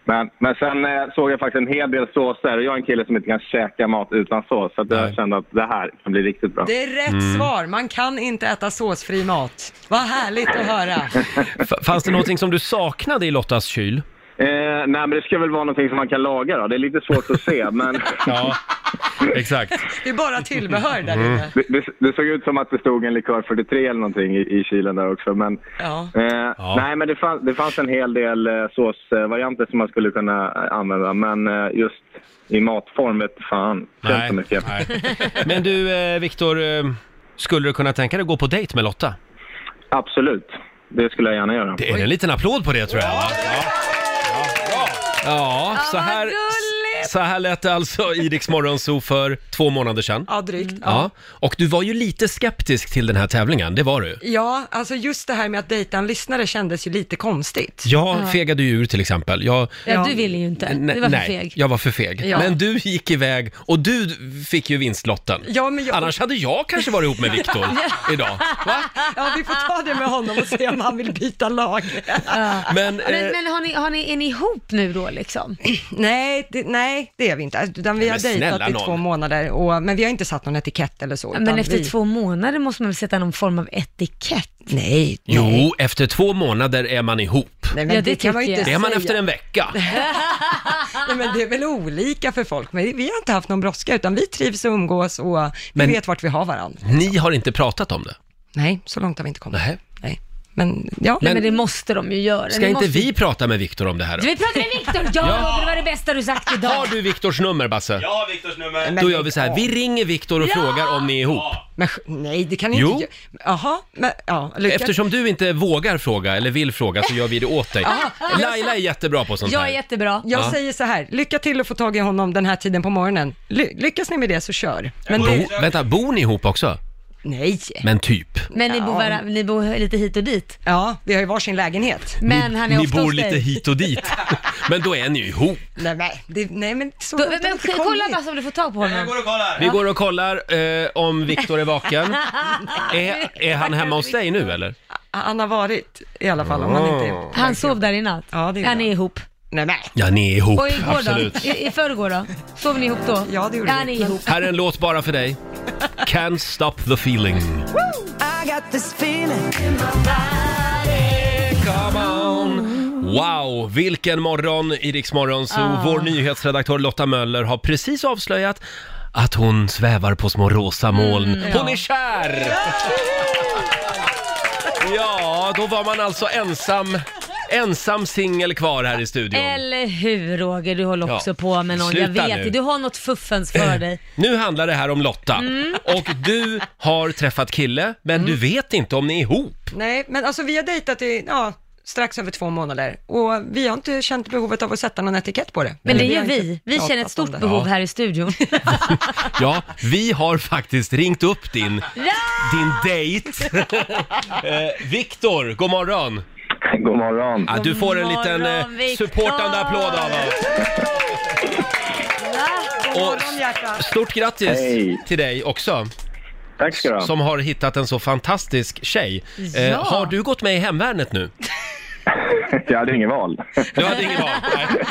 men, men sen eh, såg jag faktiskt en hel del såser och jag är en kille som inte kan käka mat utan sås. Så att Nej. jag kände att det här kan bli riktigt bra. Det är rätt Mm. svar. Man kan inte äta såsfri mat. Vad härligt att höra. F- fanns det någonting som du saknade i Lottas kyl? Eh, nej, men det ska väl vara någonting som man kan laga då. Det är lite svårt att se, men Ja, exakt. Det är bara tillbehör där Mm. inne. det, det, det såg ut som att det stod en likör 43 eller någonting i, i kylen där också. Men, Ja. eh, Ja. Nej, men det, fann, det fanns en hel del eh, såsvarianter som man skulle kunna eh, använda, men eh, just i matform vet fan. Känns så mycket. nej. Men du, eh, Viktor, eh, skulle du kunna tänka dig att gå på dejt med Lotta? Absolut, det skulle jag gärna göra. Det är en liten applåd på det tror jag. va? Ja, ja så, vad här, gulligt! så här lät det alltså i Rix Morgonzoo för två månader sedan. Ja, drygt. Ja. Och du var ju lite skeptisk till den här tävlingen, det var du. Ja, alltså just det här med att dejta en lyssnare kändes ju lite konstigt. Jag fegade ju ur till exempel. Jag, Ja, du ville ju inte. Du var för nej, feg. jag var för feg. Ja. Men du gick iväg och du fick ju vinstlotten. Ja, men jag- Annars hade jag kanske varit ihop med Viktor idag. Va? Ja, vi får ta det med honom och se om han vill byta lag. Men, eh, Men, men har ni, har ni, är ni ihop nu då liksom? nej, det, nej, det är vi inte. Utan vi Nej, har men dejtat snälla i nån. två månader, och, men vi har inte satt någon etikett eller så. Ja, utan Men efter vi, två månader måste man väl sätta någon form av etikett? Nej, nej. jo, efter två månader är man ihop. Nej, men Ja, det det kan man ju tycker inte Det är man säga. efter en vecka. Nej, men det är väl olika för folk, men vi har inte haft någon brådska, utan vi trivs och umgås och vi Men- vet vart vi har varandra. Ni har inte pratat om det? Nej, så långt har vi inte kommit. Nej. Nej. Men ja, Nej men det måste de ju göra. Ska Ni inte måste... vi prata med Viktor om det här? Du då? vill prata med Viktor? Ja, Roger, det var det bästa du sagt Har idag. du Viktors nummer, Basse? Jag har Viktors nummer. men, Då gör vi så här, vi ringer Viktor och Ja! frågar om ni är ihop. men, sj- nej, det kan ni Jo. inte göra. Jaha, men ja, lycka Eftersom du inte vågar fråga eller vill fråga så gör vi det åt dig. Laila är jättebra på sånt Jag är här. jättebra. Jag Ja. säger så här, lycka till att få tag i honom den här tiden på morgonen. Ly- lyckas ni med det så kör. Men Bo, du, vänta, bor ni ihop också? nej. Men typ. Men ni bor, vara, ni bor lite hit och dit. Ja, vi har ju varsin lägenhet. Men han är ni ofta bor hos dig. lite hit och dit. Men då är ni ju ihop. Nej, nej, det, nej men så Då, långt har vi men inte kolla kommit. bara så om du får tag på Jag honom. går och kollar. Vi går och kollar eh, om Viktor är vaken. Är, är han hemma hos dig nu eller? Han har varit i alla fall, om han inte är Han sov där i natt. Ja, det är han är bra. ihop. Nej, nej. Ja, ni är ihop. Och igår Absolut. då? I, I förrgår då? Sov ni ihop då? Ja, det gjorde Han är vi. ihop. Här är en låt bara för dig. Can't stop the feeling. I got this feeling. Wow, vilken morgon i Rix Morgon Zoo. Vår nyhetsredaktör Lotta Möller har precis avslöjat att hon svävar på små rosa moln. Hon är kär! Ja, då var man alltså ensam, ensam singel kvar här i studion. Eller hur Roger, du håller Ja. också på med någon. Sluta jag vet nu. det. Du har något fuffens för dig. Nu handlar det här om Lotta. Mm. Och du har träffat kille, men du vet inte om ni är ihop. nej, men alltså vi har dejtat i, ja, strax över två månader och vi har inte känt behovet av att sätta någon etikett på det. Men det Eller gör har inte vi. Vi pratat känner om ett stort det. behov Ja. här i studion. Ja, vi har faktiskt ringt upp din, Ja! din dejt. eh, Viktor, god morgon! God morgon. Ja, du får en liten morgon, eh, Viktor. supportande applåd av oss. God morgon hjärta. Stort grattis Hej. till dig också, Tack ska du ha. som har hittat en så fantastisk tjej. Eh, Ja. har du gått med i Hemvärnet nu? Jag hade inget val. Du hade ingen val. Nej.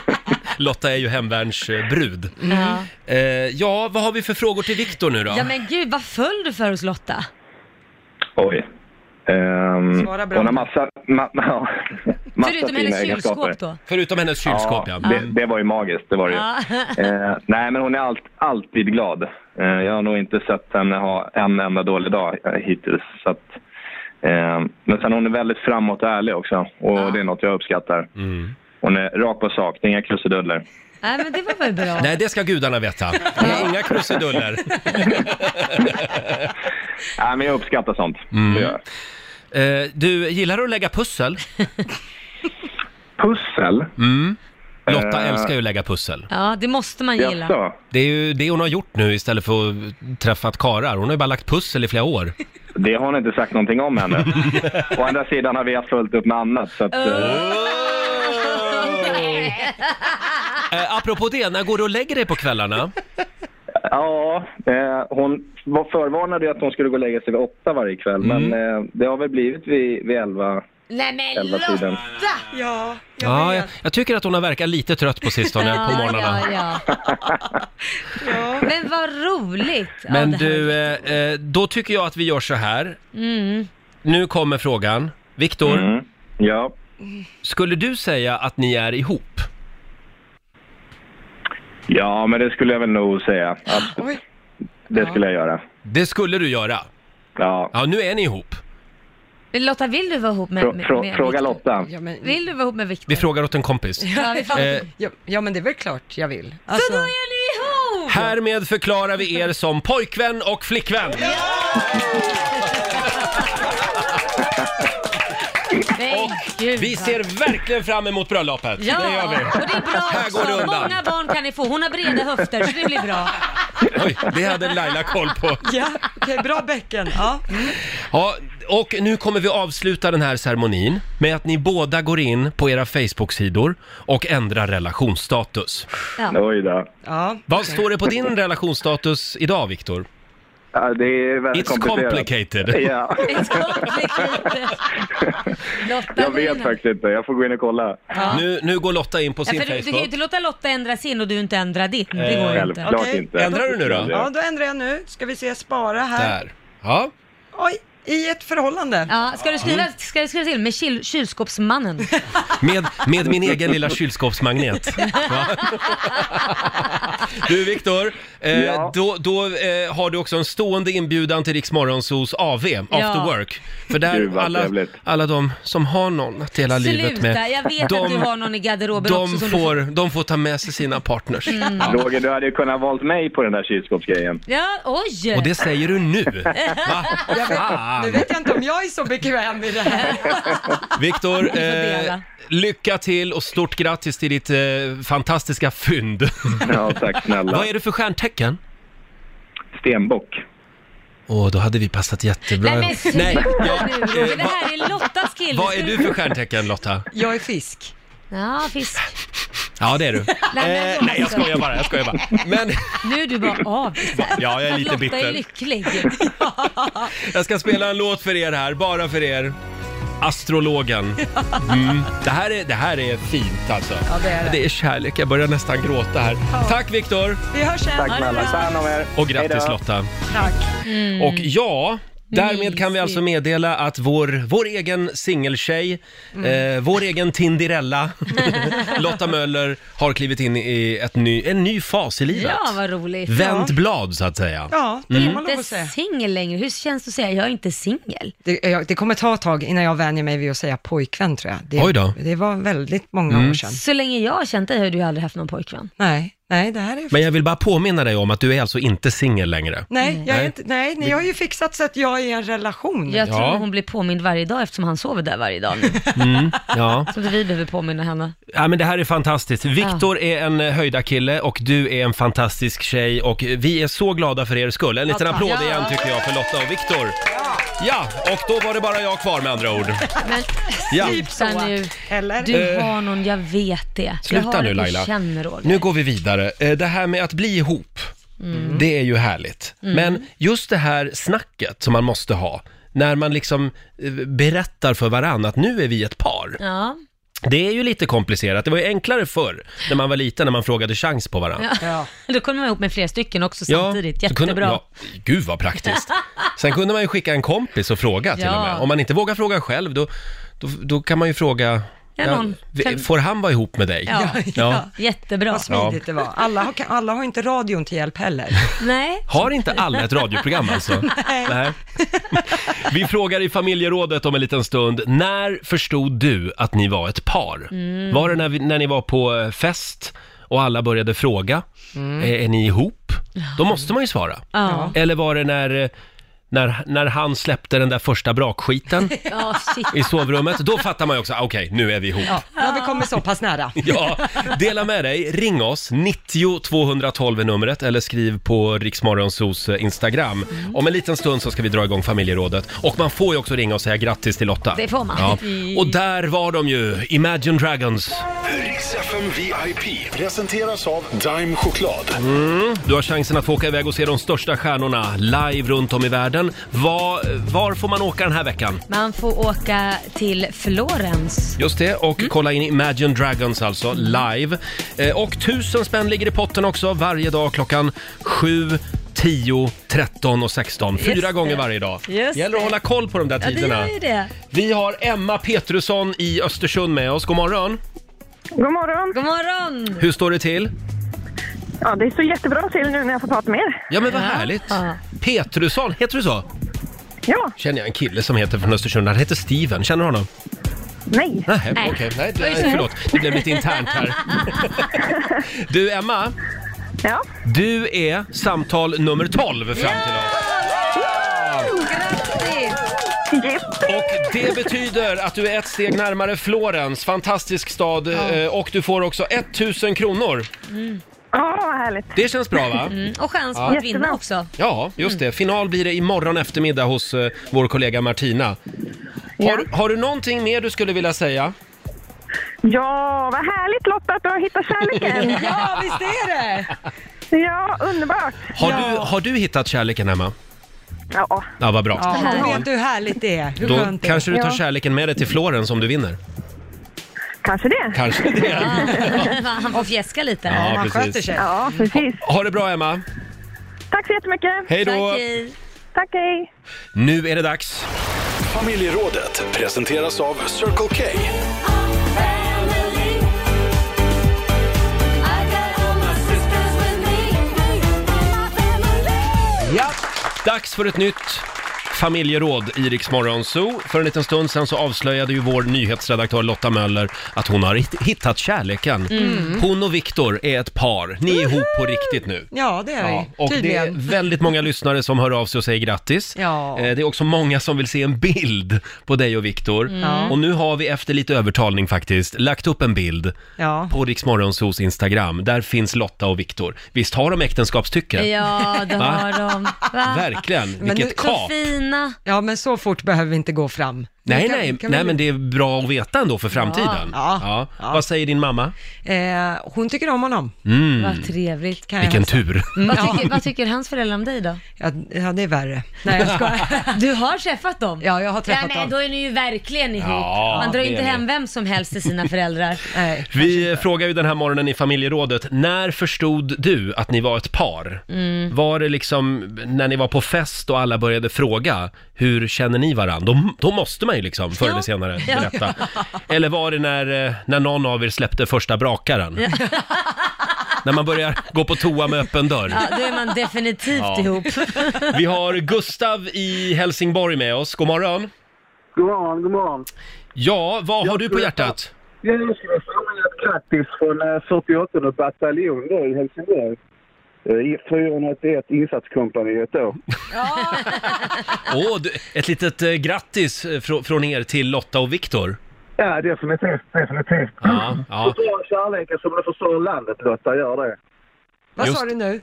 Lotta är ju Hemvärns eh, brud. Ja. Eh, ja, vad har vi för frågor till Viktor nu då? ja men gud, vad föll du för hos Lotta? Oj. Ehm, Svara bra. Hon har massa, ma- ja, massa Förutom fina hennes egenskaper. kylskåp då. Förutom hennes kylskåp ja. Mm. det, det var ju magiskt, det var det ju. Ja. Eh, nej, men hon är allt, alltid glad. Eh, jag har nog inte sett henne ha en enda dålig dag eh, hittills. Så att, Eh, men sen hon är väldigt framåt och ärlig också och det är något jag uppskattar. Hon är rakt på sak, det är inga krusiduller. Nej, men det var väl bra. Nej, det ska gudarna veta. Inga krusiduller. Nej, men jag uppskattar sånt. Det gör jag. Eh, du, gillar du att lägga pussel? Pussel? Lotta Eh. älskar ju att lägga pussel. Ja, det måste man gilla. Jaså? Det är ju det hon har gjort nu istället för att träffat karar. Hon har ju bara lagt pussel i flera år. Det har ni inte sagt någonting om ännu. Å andra sidan har vi haft fullt upp med annat. Så att, eh, Eh, apropå det, när går du och lägger dig på kvällarna? ja, eh, hon var förvarnad ju att hon skulle gå och lägga sig vid åtta varje kväll, men eh, det har väl blivit vid, vid elva. Nej men Elva tiden. Lotta! Ja, jag Ja, jag, vet. jag tycker att hon har verkat lite trött på sistone på morgnarna. Ja, ja. Men vad roligt! Ja, Men det här du, var- eh, eh, då tycker jag att vi gör så här. Mm. Nu kommer frågan. Viktor, Mm. Ja. skulle du säga att ni är ihop? ja, men det skulle jag väl nog säga. Att Oj. det skulle jag göra. Det skulle du göra. Ja. Ja, nu är ni ihop. Men Lotta, vill du vara ihop med, Frå- med, frå- med fråga Victor? Lotta. Ja, men, Vill du vara ihop med Viktor? Vi frågar åt en kompis. Ja, vi frågar. Eh, ja, ja, men det är väl klart jag vill. Så Alltså, då är ni ihop! Härmed förklarar vi er som pojkvän och flickvän. Nej, gud, Vi va. ser verkligen fram emot bröllopet. Ja, Det gör vi. och det är bra Här också. går det undan. Många barn kan ni få. Hon har breda höfter så det blir bra. Oj, det hade Laila koll på. ja, okej, bra bäcken. Ja. Ja, och nu kommer vi avsluta den här ceremonin med att ni båda går in på era Facebook-sidor och ändrar relationsstatus. Oj då. Ja. Vad står det på din relationsstatus idag, Viktor? Ja, det är It's väldigt komplicerat. complicated. Ja. It's complicated. Lotta, Jag gå in vet här. faktiskt inte. Jag får gå in och kolla. Nu, nu går Lotta in på Ja, sin för du, du kan ju Facebook. Eh, inte låta Lotta ändra sin och du inte ändra din. Det går ju inte. Självklart Okej. inte. Ändrar du nu då? ja, då ändrar jag nu. Ska vi se, spara här. Där. Ja. Oj, i ett förhållande. Ja, ska, du Mm. skriva, ska du skriva till med kyl, kylskåpsmannen? Med, med min egen lilla kylskåpsmagnet. Ja. Du Viktor, eh, Ja. då, då eh, har du också en stående inbjudan till Rix Morgonzos AV, After Ja. Work. För där Gud, vad alla, trevligt. alla de som har någon att dela livet Sluta, med, jag vet att du de, har någon i garderoben också de, som du... Mm. får, de får ta med sig sina partners. Roger, du hade ju kunnat valt mig på den där kylskåpsgrejen. Ja, oj! Och det säger du nu! Va? Fan. Nu vet jag inte om jag är så bekväm i det här. Viktor, eh, dela. lycka till och stort grattis till ditt eh, fantastiska fynd. Ja, tack snälla. Vad är du för stjärntecken? Stenbock. Åh, då hade vi passat jättebra Nej men ihop. sluta Nej, eh, nu Roger, det här är liksom- Lottas kille. Vad är du för stjärntecken Lotta? Jag är fisk. Ja, fisk. Ja, det är du. men Eh, nej, jag skojar bara, jag skojar bara. Men Nu är du bara av. ja, jag är lite Lotta är bitter. lycklig. Jag ska spela en låt för er här, bara för er. Astrologen. Mm. Det, här är, det här är fint alltså. Ja, det är det. Det är kärlek, jag börjar nästan gråta här. Tack Viktor! Vi hörs sen. Tack snälla. Ta hand om er. Och Hej grattis då. Lotta. Tack. Och ja, därmed kan vi Mm. Mysigt. alltså meddela att vår, vår egen singeltjej, Mm. eh, vår egen Tinderella, Lotta Möller, har klivit in i ett ny, en ny fas i livet. Ja, vad roligt. Vänt blad så att säga. Ja, det kan man lov inte att säga. singel längre. Hur känns det att säga jag är inte singel? Det, jag, det kommer ta ett tag innan jag vänjer mig vid att säga pojkvän tror jag. Det, Oj då. Mm. det var väldigt många år sedan. Så länge jag har känt dig har du ju aldrig haft någon pojkvän. Nej, nej, det här är... Men jag vill bara påminna dig om att du är alltså inte singel längre. Nej, jag Nej. är inte, nej, ni har ju fixat så att jag är i en relation. Jag tror Ja. hon blir påmind varje dag eftersom han sover där varje dag nu. Ja. Så att vi behöver påminna henne. ja, men det här är fantastiskt. Viktor är en eh, höjda kille och du är en fantastisk tjej och vi är så glada för er skull. En liten tack. applåd Ja. igen tycker jag för Lotta och Viktor. Ja, och då var det bara jag kvar med andra ord. Men Ja. Typ så. sluta nu. Eller? Du har någon, jag vet det. Eh. Sluta jag har nu, det på Laila. känn, Roger. Nu går vi vidare. Eh, Det här med att bli ihop, Mm. det är ju härligt. Men just det här snacket som man måste ha, när man liksom eh, berättar för varann att nu är vi ett par. Ja. Det är ju lite komplicerat. Det var ju enklare förr, när man var liten, när man frågade chans på varann. Ja. Då kommer man ihop med flera stycken också Ja, samtidigt. så kunde- Jättebra. ja, gud vad praktiskt. Sen kunde man ju skicka en kompis och fråga till Ja. och med. Om man inte vågar fråga själv, då, då, då kan man ju fråga, Ja, någon vi- kan- får han vara ihop med dig? Ja. Ja. Jättebra. Vad smidigt det var. Alla har, alla har inte radion till hjälp heller. Nej. Har inte alla ett radioprogram alltså? Nej. Vi frågar i familjerådet om en liten stund. När förstod du att ni var ett par? Mm. Var det när, vi, när ni var på eh, fest och alla började fråga? "Eh, Är, är ni ihop? Då måste man ju svara. Mm. Ja. Eller var det när, eh, när, när han släppte den där första brakskiten Ja, shit. i sovrummet? Då fattar man ju också, ah, okej, nu är vi ihop. Ja, då har vi kommit så pass nära. Ja, dela med dig. Ring oss, 90 212 är numret eller skriv på Riksmorgonsos eh, Instagram. Mm. Om en liten stund så ska vi dra igång familjerådet. Och man får ju också ringa och säga grattis till Lotta. Det får man. Mm. Ja. Och där var de ju, Imagine Dragons. Riks FM VIP presenteras av Dime Choklad. Du har chansen att få åka iväg och se de största stjärnorna live runt om i världen. Var, var får man åka den här veckan? Man får åka till Florens. Just det, och Mm. kolla in Imagine Dragons alltså, live. Eh, och tusen spänn ligger i potten också varje dag klockan 7, 10, 13 och 16. Fyra Just gånger det. varje dag. Just gäller att det. hålla koll på de där Ja, det tiderna. gör ju det. Vi har Emma Petrusson i Östersund med oss. God morgon! God morgon! God morgon! Hur står det till? Ja, det står jättebra till nu när jag får prata med er. Ja men vad härligt! Ja. Petrusson, heter du så? Ja, Känner jag en kille som heter från Östersund. Han heter Steven. Känner du honom? nej. Nej, Nej. okej. Nej, det- nej, förlåt. Det blev lite internt här. Du Emma, Ja, du är samtal nummer 12 fram till oss. Grattis! jipp. Och det betyder att du är ett steg närmare Florens, fantastisk stad eh, och du får också 1000 kronor. Ja, vad härligt. Det känns bra va? Mm, och chans på att vinna Jättebra. också. Ja, just Mm. det. Final blir det imorgon eftermiddag hos eh, vår kollega Martina. Har, har du någonting mer du skulle vilja säga? Ja, vad härligt Lotta att du har hittat kärleken. Ja, visst är det! Ja, underbart. Har, du, har du hittat kärleken Emma? Ja, Ja, vad bra. Ja, Härligt. hon vet du hur härligt det är? Hur Då skönt det är? kanske du tar Ja. kärleken med dig till Florens om du vinner. kanske det. Kanske det. Han får fjäska lite. Ja, Om man precis. sköter sig. Ja, precis. Ha det bra Emma. Tack så jättemycket. Hej Tack, då. hej. Tack, hej. Nu är det dags. Familjerådet presenteras av Circle K. Ja. Dags för ett nytt familjeråd i Rix Morgon Zoo. För en liten stund sen så avslöjade ju vår nyhetsredaktör Lotta Möller att hon har hitt- hittat kärleken. Mm. Hon och Viktor är ett par. Ni är ihop på riktigt nu. Ja, det är Ja, vi. och det är Tydligen. väldigt många lyssnare som hör av sig och säger grattis. Ja. Eh, Det är också många som vill se en bild på dig och Viktor. Mm. Och nu har vi efter lite övertalning faktiskt lagt upp en bild Ja. på Rix Morgonzoos Instagram. Där finns Lotta och Viktor. Visst har de äktenskapstycke? Ja, det Va? har de. Va? Verkligen, nu- vilket Så kap! fina. ja, men så fort behöver vi inte gå fram. Nej, Vi kan- nej, kan nej, vi- men det är bra att veta ändå för framtiden. Ja, ja. Vad säger din mamma? eh, hon tycker om honom. Vad trevligt. Kan Mm. Vilken jag tur. Vad, tycker, vad tycker hans föräldrar om dig då? ja, ja, det är värre. Nej, jag skojar. Du har träffat dem? Ja, jag har träffat ja, nej, dem. Då är ni ju verkligen ihop. Ja, Man drar ju det inte är hem vem som helst till sina föräldrar. Nej. Vi frågar ju den här morgonen i familjerådet, när förstod du att ni var ett par? Mm. Var det liksom när ni var på fest och alla började fråga, hur känner ni varandra? Då, då måste man ju liksom förr eller Ja. senare Ja. berätta. Eller var det när, eh, när någon av er släppte första brakaren? När man börjar gå på toa med öppen dörr. Ja, då är man definitivt Ja. ihop. Vi har Gustav i Helsingborg med oss, god morgon. God morgon, god morgon. Ja, vad har du på skulle- hjärtat? Jag skulle fråga ett grattis från eh, 48 bataljon då i Helsingborg. Eh, i 481 insatskompaniet då. Åh, du- ett litet eh, grattis eh, frå- från er till Lotta och Viktor. Ja, definitivt, definitivt. Ja, ja. Försvara kärleken som du försvarar landet Lotta, gör det. Vad Just- sa du nu?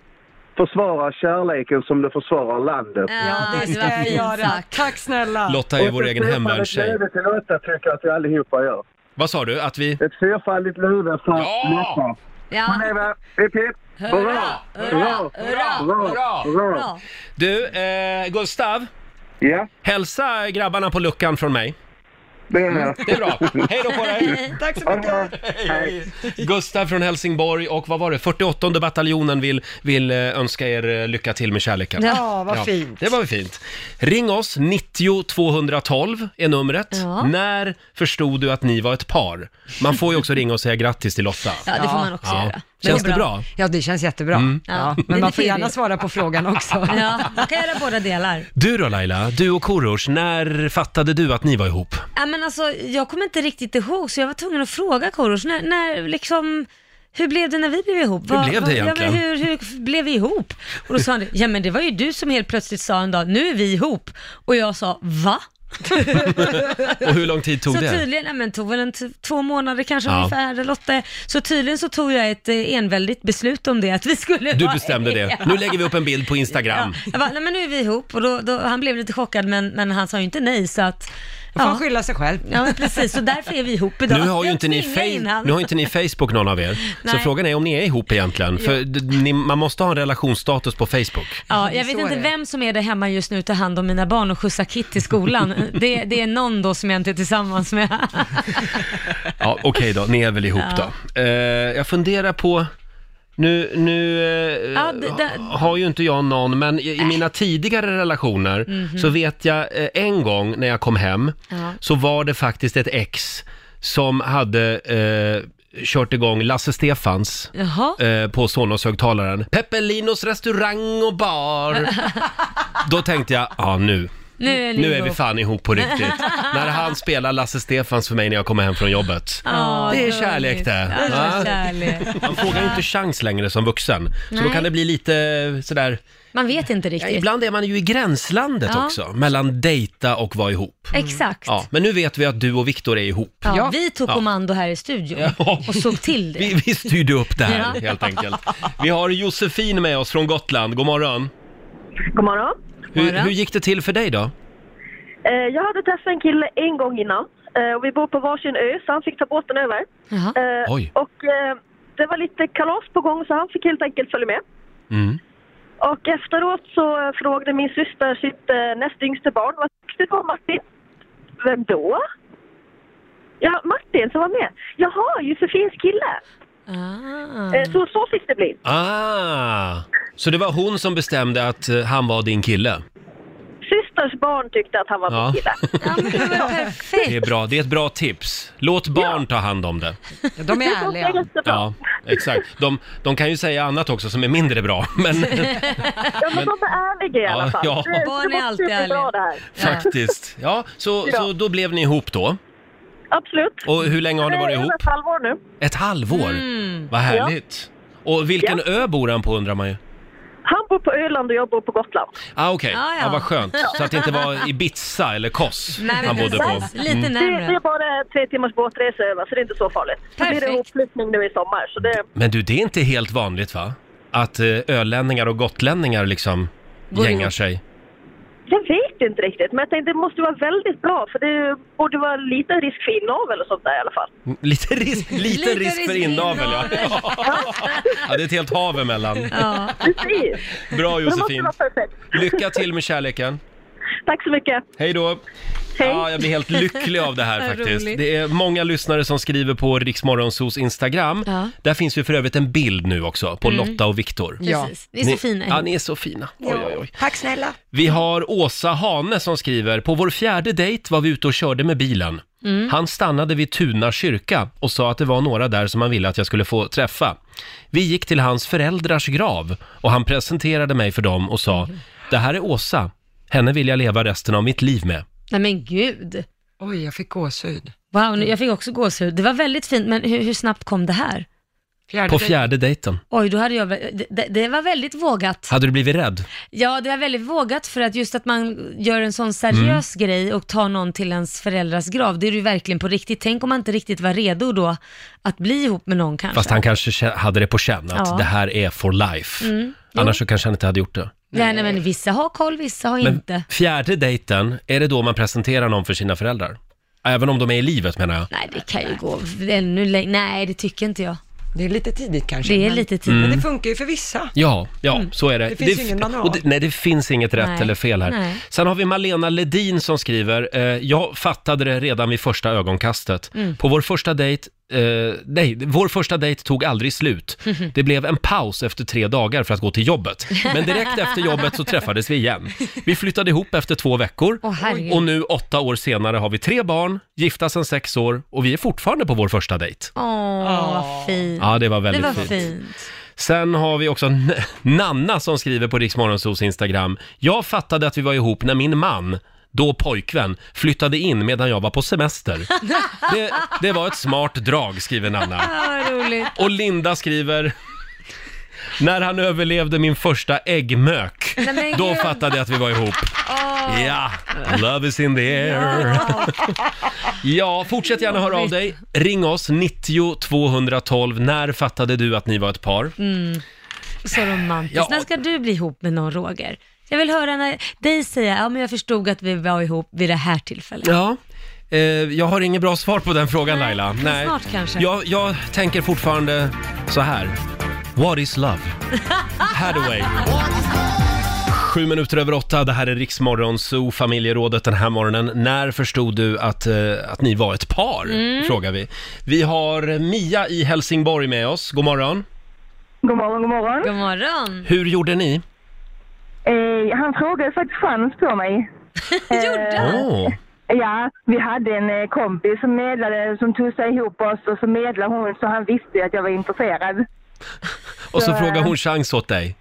Försvara kärleken som du försvarar landet. Ja, Det ska jag göra. Tack snälla. Lotta är Och vår ett egen fyrfaldigt hemvärnstjej. löve till Lotta tycker jag att vi allihopa gör. Vad sa du? Att vi... Ett fyrfaldigt löve för Ja! Lotta. Ja. Leva, hipp hipp! Hurra! Hurra! Hurra! Hurra! Bra. Du, eh, Gustav, Ja, hälsa grabbarna på luckan från mig. det är det. Det är bra. Hej då på dig! Tack så mycket. Gustav från Helsingborg och vad var det? 48 bataljonen vill, vill eh, önska er eh, lycka till med kärleken. Ja, vad fint. Det var väl fint. Ring oss, 90 212 är numret. Ja. När förstod du att ni var ett par? Man får ju också ringa och säga grattis till Lotta. Ja, det får man också Ja. göra. Känns det det bra? bra? Ja, det känns jättebra. Ja, Det men man får betyder gärna ju. svara på frågan också. Ja, man kan göra båda delar. Du då Laila, du och Korosh, när fattade du att ni var ihop? Ja, men alltså, jag kommer inte riktigt ihåg, så jag var tvungen att fråga Korosh, när, när liksom, hur blev det när vi blev ihop? Hur blev det egentligen? Ja, men hur, hur blev vi ihop? Och då sa han, ja men det var ju du som helt plötsligt sa en dag, nu är vi ihop. Och jag sa, va? Och hur lång tid tog så det? tydligen, ja, men tog väl en t- två månader kanske Ja. ungefär, eller åtta. Så tydligen så tog jag ett eh, enväldigt beslut om det, att vi skulle Du vara bestämde det. Ja. Nu lägger vi upp en bild på Instagram. Ja, jag bara, nej men nu är vi ihop och då, då, han blev lite chockad men, men han sa ju inte nej så att... Då får man Ja, skylla sig själv. ja men precis, så därför är vi ihop idag. Nu har ju inte ni, Jag tvingade in fej- han. nu har inte ni Facebook någon av er. Så Nej. frågan är om ni är ihop egentligen. För d- ni, man måste ha en relationsstatus på Facebook. Ja, jag vet Så inte är det. vem som är där hemma just nu och tar hand om mina barn och skjutsar Kit till skolan. det, det är någon då som jag inte är tillsammans med. Ja, okej då, ni är väl ihop Ja. då. Eh, jag funderar på, nu, nu eh, Ja, det- det- ha- har ju inte jag någon, men i, i mina tidigare relationer så vet jag eh, en gång när jag kom hem Mhm. Ja. så var det faktiskt ett ex som hade eh, kört igång Lasse Stefans Jaha. eh, på Sonos-högtalaren. Peppelinos restaurang och bar. Då tänkte jag, ja nu. Nu Nu är, Lilo. är vi fan ihop på riktigt. när han spelar Lasse Stefans för mig när jag kommer hem från jobbet. Ja, det är gulligt. kärlek det. Ja, det är Ja. kärlek. Man frågar ju inte chans längre som vuxen. Så då Nej. kan det bli lite sådär, Man vet inte ja, riktigt. ibland är man ju i gränslandet Ja. också, mellan dejta och vara ihop. Exakt. Ja, Ja. men nu vet vi att du och Viktor är ihop. Ja. vi tog kommando här i studion Ja. och såg till det. Vi, vi styrde upp det här Ja. helt enkelt. Vi har Josefin med oss från Gotland, god morgon. God morgon. Hur, Morgon. hur gick det till för dig då? Eh, jag hade träffat en kille en gång innan. Eh, och vi bor på varsin ö, så han fick ta båten över. Jaha. Eh, Oj. Och eh, det var lite kalas på gång, så han fick helt enkelt följa med. Mm. Och efteråt så eh, frågade min syster sitt eh, näst yngste barn, vad tyckte du om Martin? Vem då? Ja, Martin som var med. Jaha, Josefins kille. Mm. Ah. Eh, så, så fick det bli. Ah! Så det var hon som bestämde att eh, han var din kille? Systers barn tyckte att han var Ja. min kille. Ja, men det var perfekt. Det är bra, det är ett bra tips. Låt barn ta hand om det. Ja, De är Så det är ärliga. jättebra. Ja, exakt. De, de kan ju säga annat också som är mindre bra, men Ja, men, de är ärliga i alla Ja, fall. ja. Det, det Barn är var alltid superbra ärliga. Det här. faktiskt. Ja, så, så då blev ni ihop då. Absolut. Och hur länge har ni varit Det är ihop? över ett halvår nu. Ett halvår? Vad härligt. Och vilken ö bor han på undrar man ju. Han bor på Öland och jag bor på Gotland. Ah, okej. Ah, ja. ja. vad skönt. Så att det inte var Ibiza eller Kos Nej, men han bodde på. Mm. precis. Lite Det, det närmre. är bara tre timmars båtresa över, så det är inte så farligt. Så blir det Perfekt. hopflyttning nu i sommar. Så det, Men du, det är inte helt vanligt va? Att eh, ölänningar och gotlänningar liksom Går gängar ihop. sig. jag vet inte riktigt, men jag tänkte det måste vara väldigt bra, för det borde vara lite risk för inavel och sånt där i alla fall. Mm, Lite risk, lite Lite risk för risk inavel ja. ja. Det är ett helt hav emellan. Ja. Precis. Bra Det måste Josefin. vara perfekt. Lycka till med kärleken. Tack så mycket. Hej då. Hej. Ja, jag blir helt lycklig av det här Vad faktiskt. roligt. Det är många lyssnare som skriver på Riksmorgonsos Instagram. Ja. Där finns ju för övrigt en bild nu också på Lotta och Viktor. Ja. Precis. Ni är så fina. Ja, ni är så fina. Oj, oj, oj. Tack snälla. Vi har Åsa Hane som skriver, på vår fjärde dejt var vi ute och körde med bilen. Mm. Han stannade vid Tuna kyrka och sa att det var några där som han ville att jag skulle få träffa. Vi gick till hans föräldrars grav och han presenterade mig för dem och sa, det här är Åsa, henne vill jag leva resten av mitt liv med. Nej men gud. Oj, jag fick gåshud. Wow, nu, jag fick också gåshud. Det var väldigt fint, men hur, hur snabbt kom det här? Fjärde På dejt. fjärde dejten. Oj, då hade jag väl- det- det, det var väldigt vågat. Hade du blivit rädd? Ja, det var väldigt vågat för att just att man gör en sån seriös Mm. grej och tar någon till ens föräldrars grav, det är det ju verkligen på riktigt. Tänk om man inte riktigt var redo då att bli ihop med någon kanske. Fast han kanske kä- hade det på känn att Ja. Mm. det här är for life. Annars så kanske han inte hade gjort det. Nej, nej, men vissa har koll, vissa har Men inte. fjärde dejten, är det då man presenterar någon för sina föräldrar? Även om de är i livet menar jag. Nej, det kan ju gå ännu längre. Nej, det tycker inte jag. Det är lite tidigt kanske. Det är men- lite tidigt. Mm. Men det funkar ju för vissa. Ja, ja, så är det. Det finns ju ingen manual. och det, Nej, det finns inget rätt Nej. eller fel här. Nej. Sen har vi Malena Ledin som skriver, eh, jag fattade det redan vid första ögonkastet. På vår första dejt Eh, nej, vår första dejt tog aldrig slut. Det blev en paus efter tre dagar för att gå till jobbet. Men direkt efter jobbet så träffades vi igen. Vi flyttade ihop efter två veckor Åh, herregud. och nu åtta år senare har vi tre barn, gifta sedan sex år och vi är fortfarande på vår första dejt. Åh, vad fint. Ja, det var det väldigt var fint. fint. Sen har vi också N- Nanna som skriver på Riksmorgonsos Instagram. Jag fattade att vi var ihop när min man, då pojkvän, flyttade in medan jag var på semester. Det, det var ett smart drag, skriver Nanna. Ja, vad roligt. Och Linda skriver... När han överlevde min första äggmök, Nej, men då gud. fattade jag att vi var ihop. Ja, love is in the air. Ja, fortsätt gärna höra av dig. Ring oss, 90 212. När fattade du att ni var ett par? Så romantiskt. Ja. När ska du bli ihop med någon, Roger? Jag vill höra när dig säga, ja men jag förstod att vi var ihop vid det här tillfället. Ja, eh, jag har inget bra svar på den frågan Nej, Laila. men snart kanske. Jag, jag tänker fortfarande så här. What is love? Hathaway. Sju minuter över åtta, det här är Riksmorgon Zoo, familjerådet den här morgonen. När förstod du att, eh, att ni var ett par? Mm. Frågar vi. Vi har Mia i Helsingborg med oss, god morgon. God morgon, god morgon. God morgon. Hur gjorde ni? Eh, han frågade faktiskt chans på mig. Gjorde han? Åh, Ja, vi hade en eh, kompis som medlade, som tog sig ihop oss och så medlade hon så han visste ju att jag var intresserad. Och så frågar hon chans åt dig.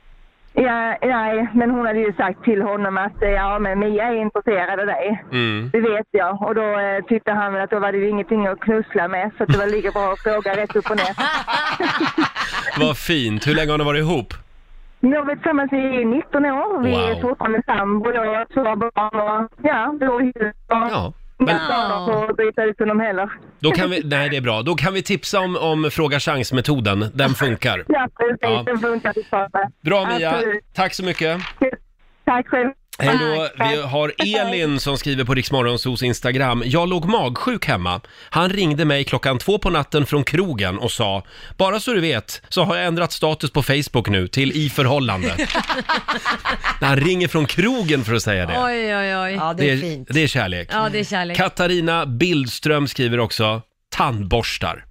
Ja, nej, men hon hade ju sagt till honom att eh, ja, men Mia är intresserad av dig. Mm. Det vet jag. Och då eh, tyckte han väl att då var det ju ingenting att knussla med så att det var lika bra att fråga rätt upp och ner. Vad fint, hur länge har ni varit ihop? Nu har vi tillsammans i 19 år. Vi är Wow. fortfarande sambo. Jag har två barn och ja, vi bor i hus. Ja, men- Men... Jag på att bryta ut honom heller. Då kan vi, nej det är bra. Då kan vi tipsa om, om fråga chans-metoden. Den funkar. Ja, precis. Ja. Den funkar fortfarande. Bra Mia, Absolut. tack så mycket. Tack själv. Hej då. Tack. Vi har Elin som skriver på Riksmorgonsos Instagram. Jag låg magsjuk hemma. Han ringde mig klockan två på natten från krogen och sa Bara så du vet så har jag ändrat status på Facebook nu till i förhållande. När han ringer från krogen för att säga det. Oj, oj, oj. Ja, det är fint. det är kärlek. Ja, det är kärlek. Katarina Bildström skriver också tandborstar.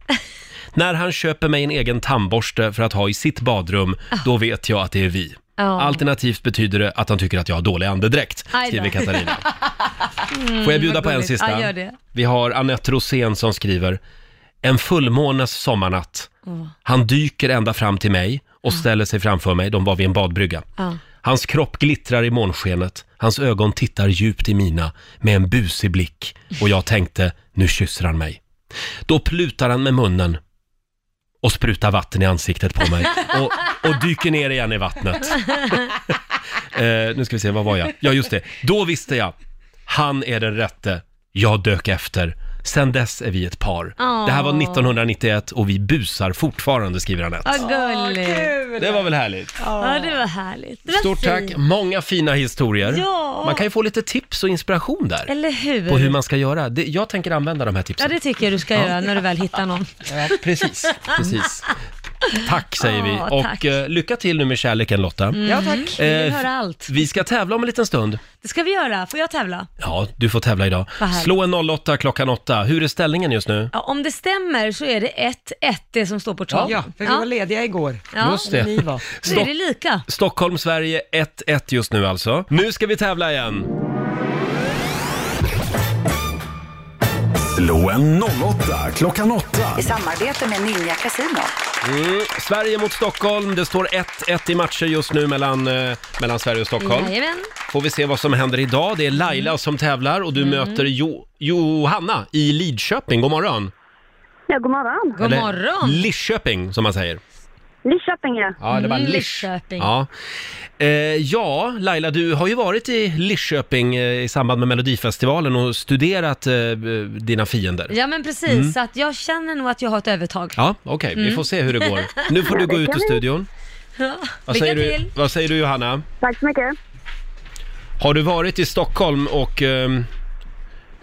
När han köper mig en egen tandborste för att ha i sitt badrum, då vet jag att det är vi. Ah. Ja. Alternativt betyder det att han tycker att jag har dålig andedräkt, Aj då. Mm, skriver Katarina. Får jag bjuda vad på en gulligt. sista? Ja, gör det. Vi har Anette Rosén som skriver, en fullmånes sommarnatt. Han dyker ända fram till mig Ah. och ställer sig framför mig, de var vid en badbrygga. Ja. Hans kropp glittrar i månskenet, hans ögon tittar djupt i mina med en busig blick och jag tänkte, nu kysser han mig. Då plutar han med munnen och sprutar vatten i ansiktet på mig och, och dyker ner igen i vattnet. eh, nu ska vi se, vad var jag? Ja, just det. Då visste jag, han är den rätte. Jag dök efter. Sen dess är vi ett par. Det här var Åh. 1991 och vi busar fortfarande, skriver Anette. Vad gulligt. Mm. Det var väl härligt? Ja, det var härligt. Det var Stort tack! fint. Många fina historier. Ja. Man kan ju få lite tips och inspiration där. Eller hur? På hur man ska göra. Det, jag tänker använda de här Ja, tipsen. det tycker jag du ska göra när du väl hittar Eh, någon. Precis. Precis. Tack säger vi. Ja, tack. Mm. Och eh, lycka till nu med kärleken Lotta. Ja, tack. Vi vill Eh, höra allt. Vi ska tävla om en liten stund. Det ska vi göra. Får jag tävla? Ja, du får tävla idag. Vad härligt. Slå en 08 klockan 8. Hur är ställningen just nu? Ja, om det stämmer så är det 1-1 det som står på tavlan. Ja, för vi var lediga igår. Ja, Just det. Ni var. Så är det lika. Stockholm, Sverige 1-1 just nu alltså. Nu ska vi tävla igen. Slå en 08 klockan 8. I samarbete med Ninja Casino. Mm. Sverige mot Stockholm. Det står 1-1 i matcher just nu mellan, eh, mellan Sverige och Stockholm. Jajamän. Får vi se vad som händer idag. Det är Mm. Laila som tävlar och du möter jo- Johanna i Lidköping. God morgon! Ja, god morgon. God morgon. Lidköping som man säger. Nyköping, ja. Ja, det var Mm, Lisch. Lidköping. Ja. Eh, ja, Laila, du har ju varit i Lidköping eh, i samband med Melodifestivalen och studerat eh, b- dina fiender. Ja, Ja, men precis. Mm. Så att jag känner nog att jag har ett övertag. okej, Mm. vi får se hur det går. Nu får du gå ut ur studion. Vad Lycka säger, du, till. vad säger du Johanna? Tack så mycket. Har du varit i Stockholm och ehm,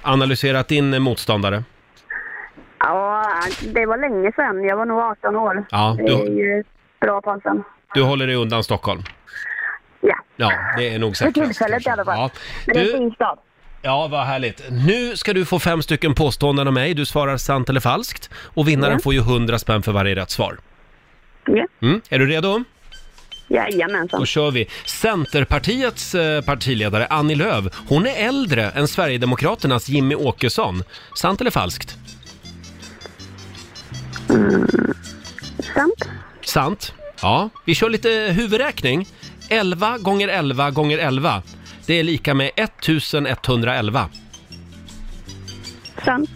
analyserat din eh, motståndare? Ja, det var länge sedan. Jag var nog 18 år. Ja, du- Det är ju bra på Du håller dig undan Stockholm? Ja. Ja, det är nog säkrast. tillfället i alla fall. Ja. Men det är en Du, fin stad. Ja, vad härligt. Nu ska du få fem stycken påståenden av mig. Du svarar sant eller falskt. Och vinnaren Mm. får ju 100 spänn för varje rätt svar. Ja. Mm. Är du redo? Jajamensan. Då kör vi. Centerpartiets eh, partiledare Annie Lööf, hon är äldre än Sverigedemokraternas Jimmy Åkesson. Sant eller falskt? Sant. Sant. Ja, vi kör lite huvudräkning. 11 gånger 11 gånger 11. Det är lika med 1111. Sant.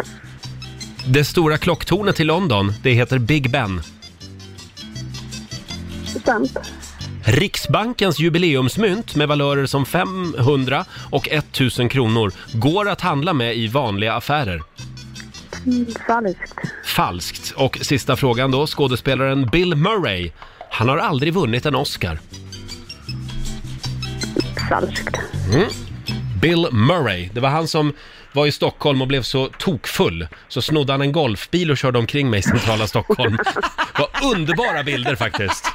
Det stora klocktornet i London, det heter Big Ben. Sant. Riksbankens jubileumsmynt med valörer som 500 och 1000 kronor går att handla med i vanliga affärer. Falskt. Falskt. Och sista frågan då, skådespelaren Bill Murray. Han har aldrig vunnit en Oscar. Falskt. Bill Murray. Det var han som var i Stockholm och blev så tokfull så snodde han en golfbil och körde omkring mig i centrala Stockholm. Det var underbara bilder faktiskt.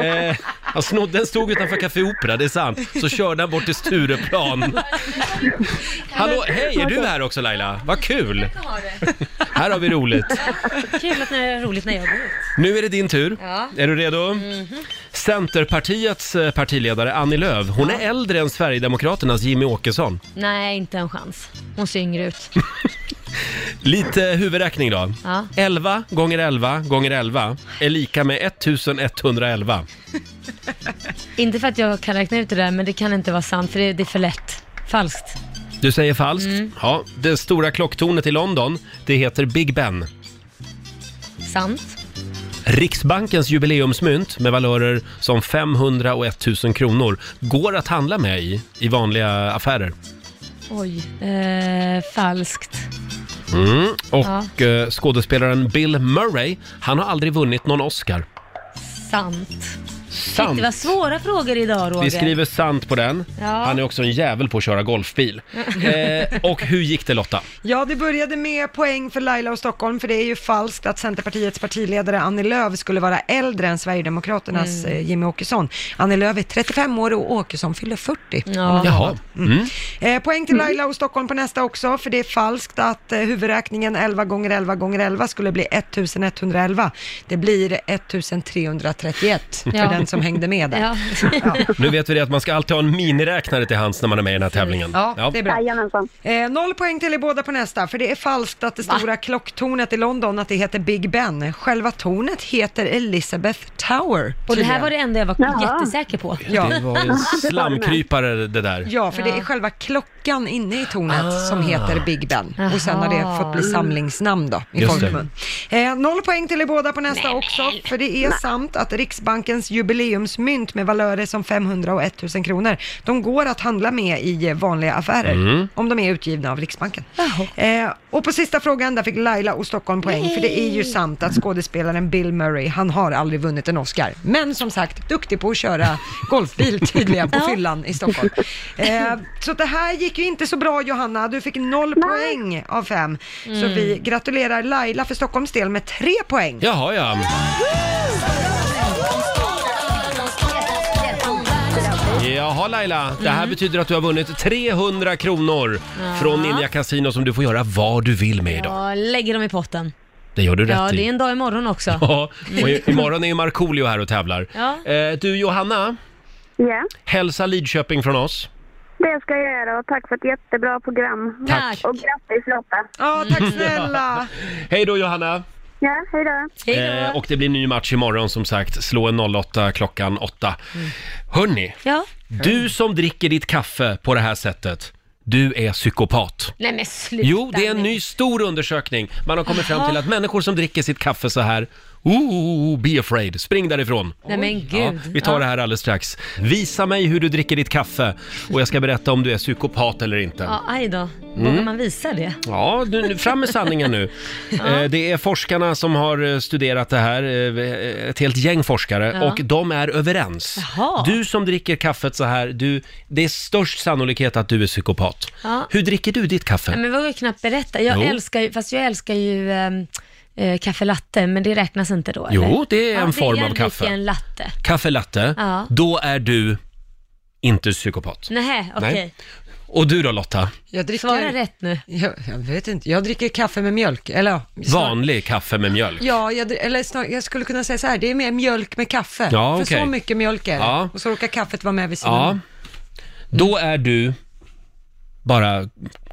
Eh, han snodde, den stod utanför Café Opera, det är sant. Så körde han bort till Stureplan. Hallå, hej, är du här också Laila? Vad kul! Här har vi roligt. Kul att det är roligt när jag går ut. Nu är det din tur. Ja. Är du redo? Centerpartiets eh, partiledare Annie Lööf, hon är äldre än Sverigedemokraternas Jimmy Åkesson. Nej, inte en chans. Hon ser yngre ut. Lite huvudräkning då. Ja. 11 gånger 11 gånger 11 är lika med 1111. Inte för att jag kan räkna ut det där, men det kan inte vara sant, för det, det är för lätt. Falskt. Du säger falskt. Mm. Ja, det stora klocktornet i London, det heter Big Ben. Sant. Riksbankens jubileumsmynt med valörer som 500 och 1000 kronor går att handla med i, i vanliga affärer. Oj. Eh, falskt. Mm. Och eh, skådespelaren Bill Murray, han har aldrig vunnit någon Oscar. Sant. Shit, Sant. det var svåra frågor idag, Roger. Vi skriver sant på den. Ja. Han är också en jävel på att köra golfbil. eh, och hur gick det Lotta? Ja, det började med poäng för Laila och Stockholm, för det är ju falskt att Centerpartiets partiledare Annie Lööf skulle vara äldre än Sverigedemokraternas mm. Jimmy Åkesson. Annie Lööf är 35 år och Åkesson fyller 40. Ja. Jaha. Mm. Eh, poäng till Laila och Stockholm på nästa också, för det är falskt att eh, huvudräkningen 11 gånger 11 gånger 11 skulle bli 1111. Det blir 1331 Ja. för den som hängde med där. Ja. Nu vet vi det att man ska alltid ha en miniräknare till hands när man är med i den här tävlingen. Ja, det är bra. Jajamensan. Eh, noll poäng till er båda på nästa, för det är falskt att det stora klocktornet i London, att det heter Big Ben. Själva tornet heter Elizabeth Tower. Och det här tydligen. var det enda jag var Ja. jättesäker på. Ja. Det var en slamkrypare det där. Ja, för det är själva klockan inne i tornet Ah. som heter Big Ben. Och sen har det fått bli samlingsnamn då, i Just det. folkmun. Eh, noll poäng till er båda på nästa också, för det är sant att Riksbankens jubileumsmynt med valörer som 500 och 1000 kronor, de går att handla med i eh, vanliga affärer, Mm. om de är utgivna av Riksbanken. Eh, och på sista frågan, där fick Laila och Stockholm poäng, för det är ju sant att skådespelaren Bill Murray, han har aldrig vunnit en Oscar. Men som sagt, duktig på att köra golfbil tydligen på fyllan i Stockholm. Eh, så det här gick ju inte så bra Johanna, du fick noll poäng av fem. Så vi gratulerar Laila för Stockholms del med tre poäng. Jaha ja. Jaha Laila, det här betyder att du har vunnit 300 kronor från Ninja Casino som du får göra vad du vill med idag. Ja, lägger dem i potten. Det gör du rätt Ja, i. det är en dag imorgon också. Ja, och i- imorgon är ju Markoolio här och tävlar. Ja. Eh, du Johanna, Ja, hälsa Lidköping från oss. det ska jag göra och tack för ett jättebra program. Tack. Och grattis Lotta. Ja, tack snälla! Hej då Johanna! Ja, hej då. Hej då. Eh, och det blir ny match imorgon som sagt. Slå en 08 klockan 8. Mm. Hörni, Ja. Mm. du som dricker ditt kaffe på det här sättet, du är psykopat. Nej men sluta Jo, det är en nu. ny stor undersökning. Man har kommit fram Jaha. till att människor som dricker sitt kaffe så här, ooh, be afraid, spring därifrån. Nej men Ja, gud. vi tar det här alldeles strax. Visa mig hur du dricker ditt kaffe och jag ska berätta om du är psykopat eller inte. Ja, aj då. Mm. Vågar man visa det? Ja, du, nu- fram med sanningen nu. Eh, Det är forskarna som har eh, studerat det här, eh, ett helt gäng forskare, Ja. och de är överens. Jaha. Du som dricker kaffet så här, du, det är störst sannolikhet att du är psykopat. Ja. Hur dricker du ditt kaffe? Nej, men vågar jag knappt berätta. Jag Jo. älskar ju, fast jag älskar ju ehm, eh, kaffe latte, men det räknas inte då eller? Jo, det är en form av Det kaffe. är en latte. Kaffe latte, Ja. då är du inte psykopat. Nähä, okej. Nej. Och du då Lotta? Jag dricker... Svara rätt nu. Jag, jag vet inte, jag dricker kaffe med mjölk, eller ja, snar- Vanlig kaffe med mjölk. Ja, jag, dri- eller snar, jag skulle kunna säga så här, det är mer mjölk med kaffe. Ja, För okej. så mycket mjölk är det. Ja. Och så råkar kaffet vara med vid sidan. Ja. Ja. Då är du bara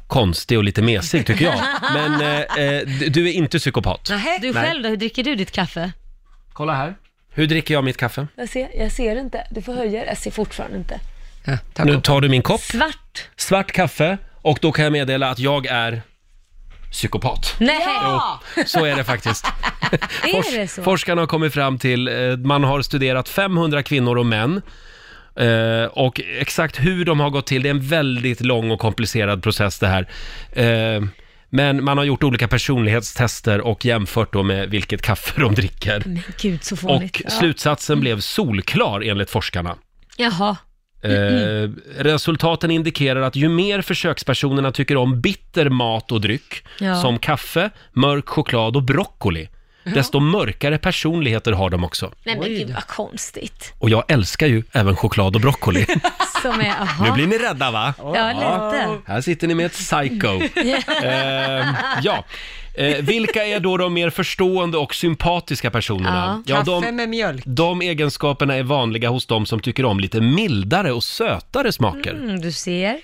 konstig och lite mesig tycker jag. Men eh, eh, d- du är inte psykopat. Nej. Du själv då, hur dricker du ditt kaffe? Kolla här. Hur dricker jag mitt kaffe? Jag ser, jag ser inte. Du får höja Jag ser fortfarande inte. Ja, tack. Nu tar du min kopp, Svart. svart kaffe och då kan jag meddela att jag är psykopat. Nej, Så är det faktiskt. är det så? Forskarna har kommit fram till, eh, man har studerat 500 kvinnor och män. Eh, och exakt hur de har gått till, det är en väldigt lång och komplicerad process det här. Eh, men man har gjort olika personlighetstester och jämfört då med vilket kaffe de dricker. Men gud så fånigt. Och slutsatsen blev solklar enligt forskarna. Jaha. Eh, resultaten indikerar att ju mer försökspersonerna tycker om bitter mat och dryck, Ja. som kaffe, mörk choklad och broccoli, desto mörkare personligheter har de också. Nej men Oj gud då. vad konstigt. Och jag älskar ju även choklad och broccoli. Som är, nu aha. blir ni rädda va? Ja, lite. Här sitter ni med ett psycho. eh, ja. Eh, vilka är då de mer förstående och sympatiska personerna? Ja. de- Kaffe med mjölk. de egenskaperna är vanliga hos de som tycker om lite mildare och sötare smaker. Mm, du ser.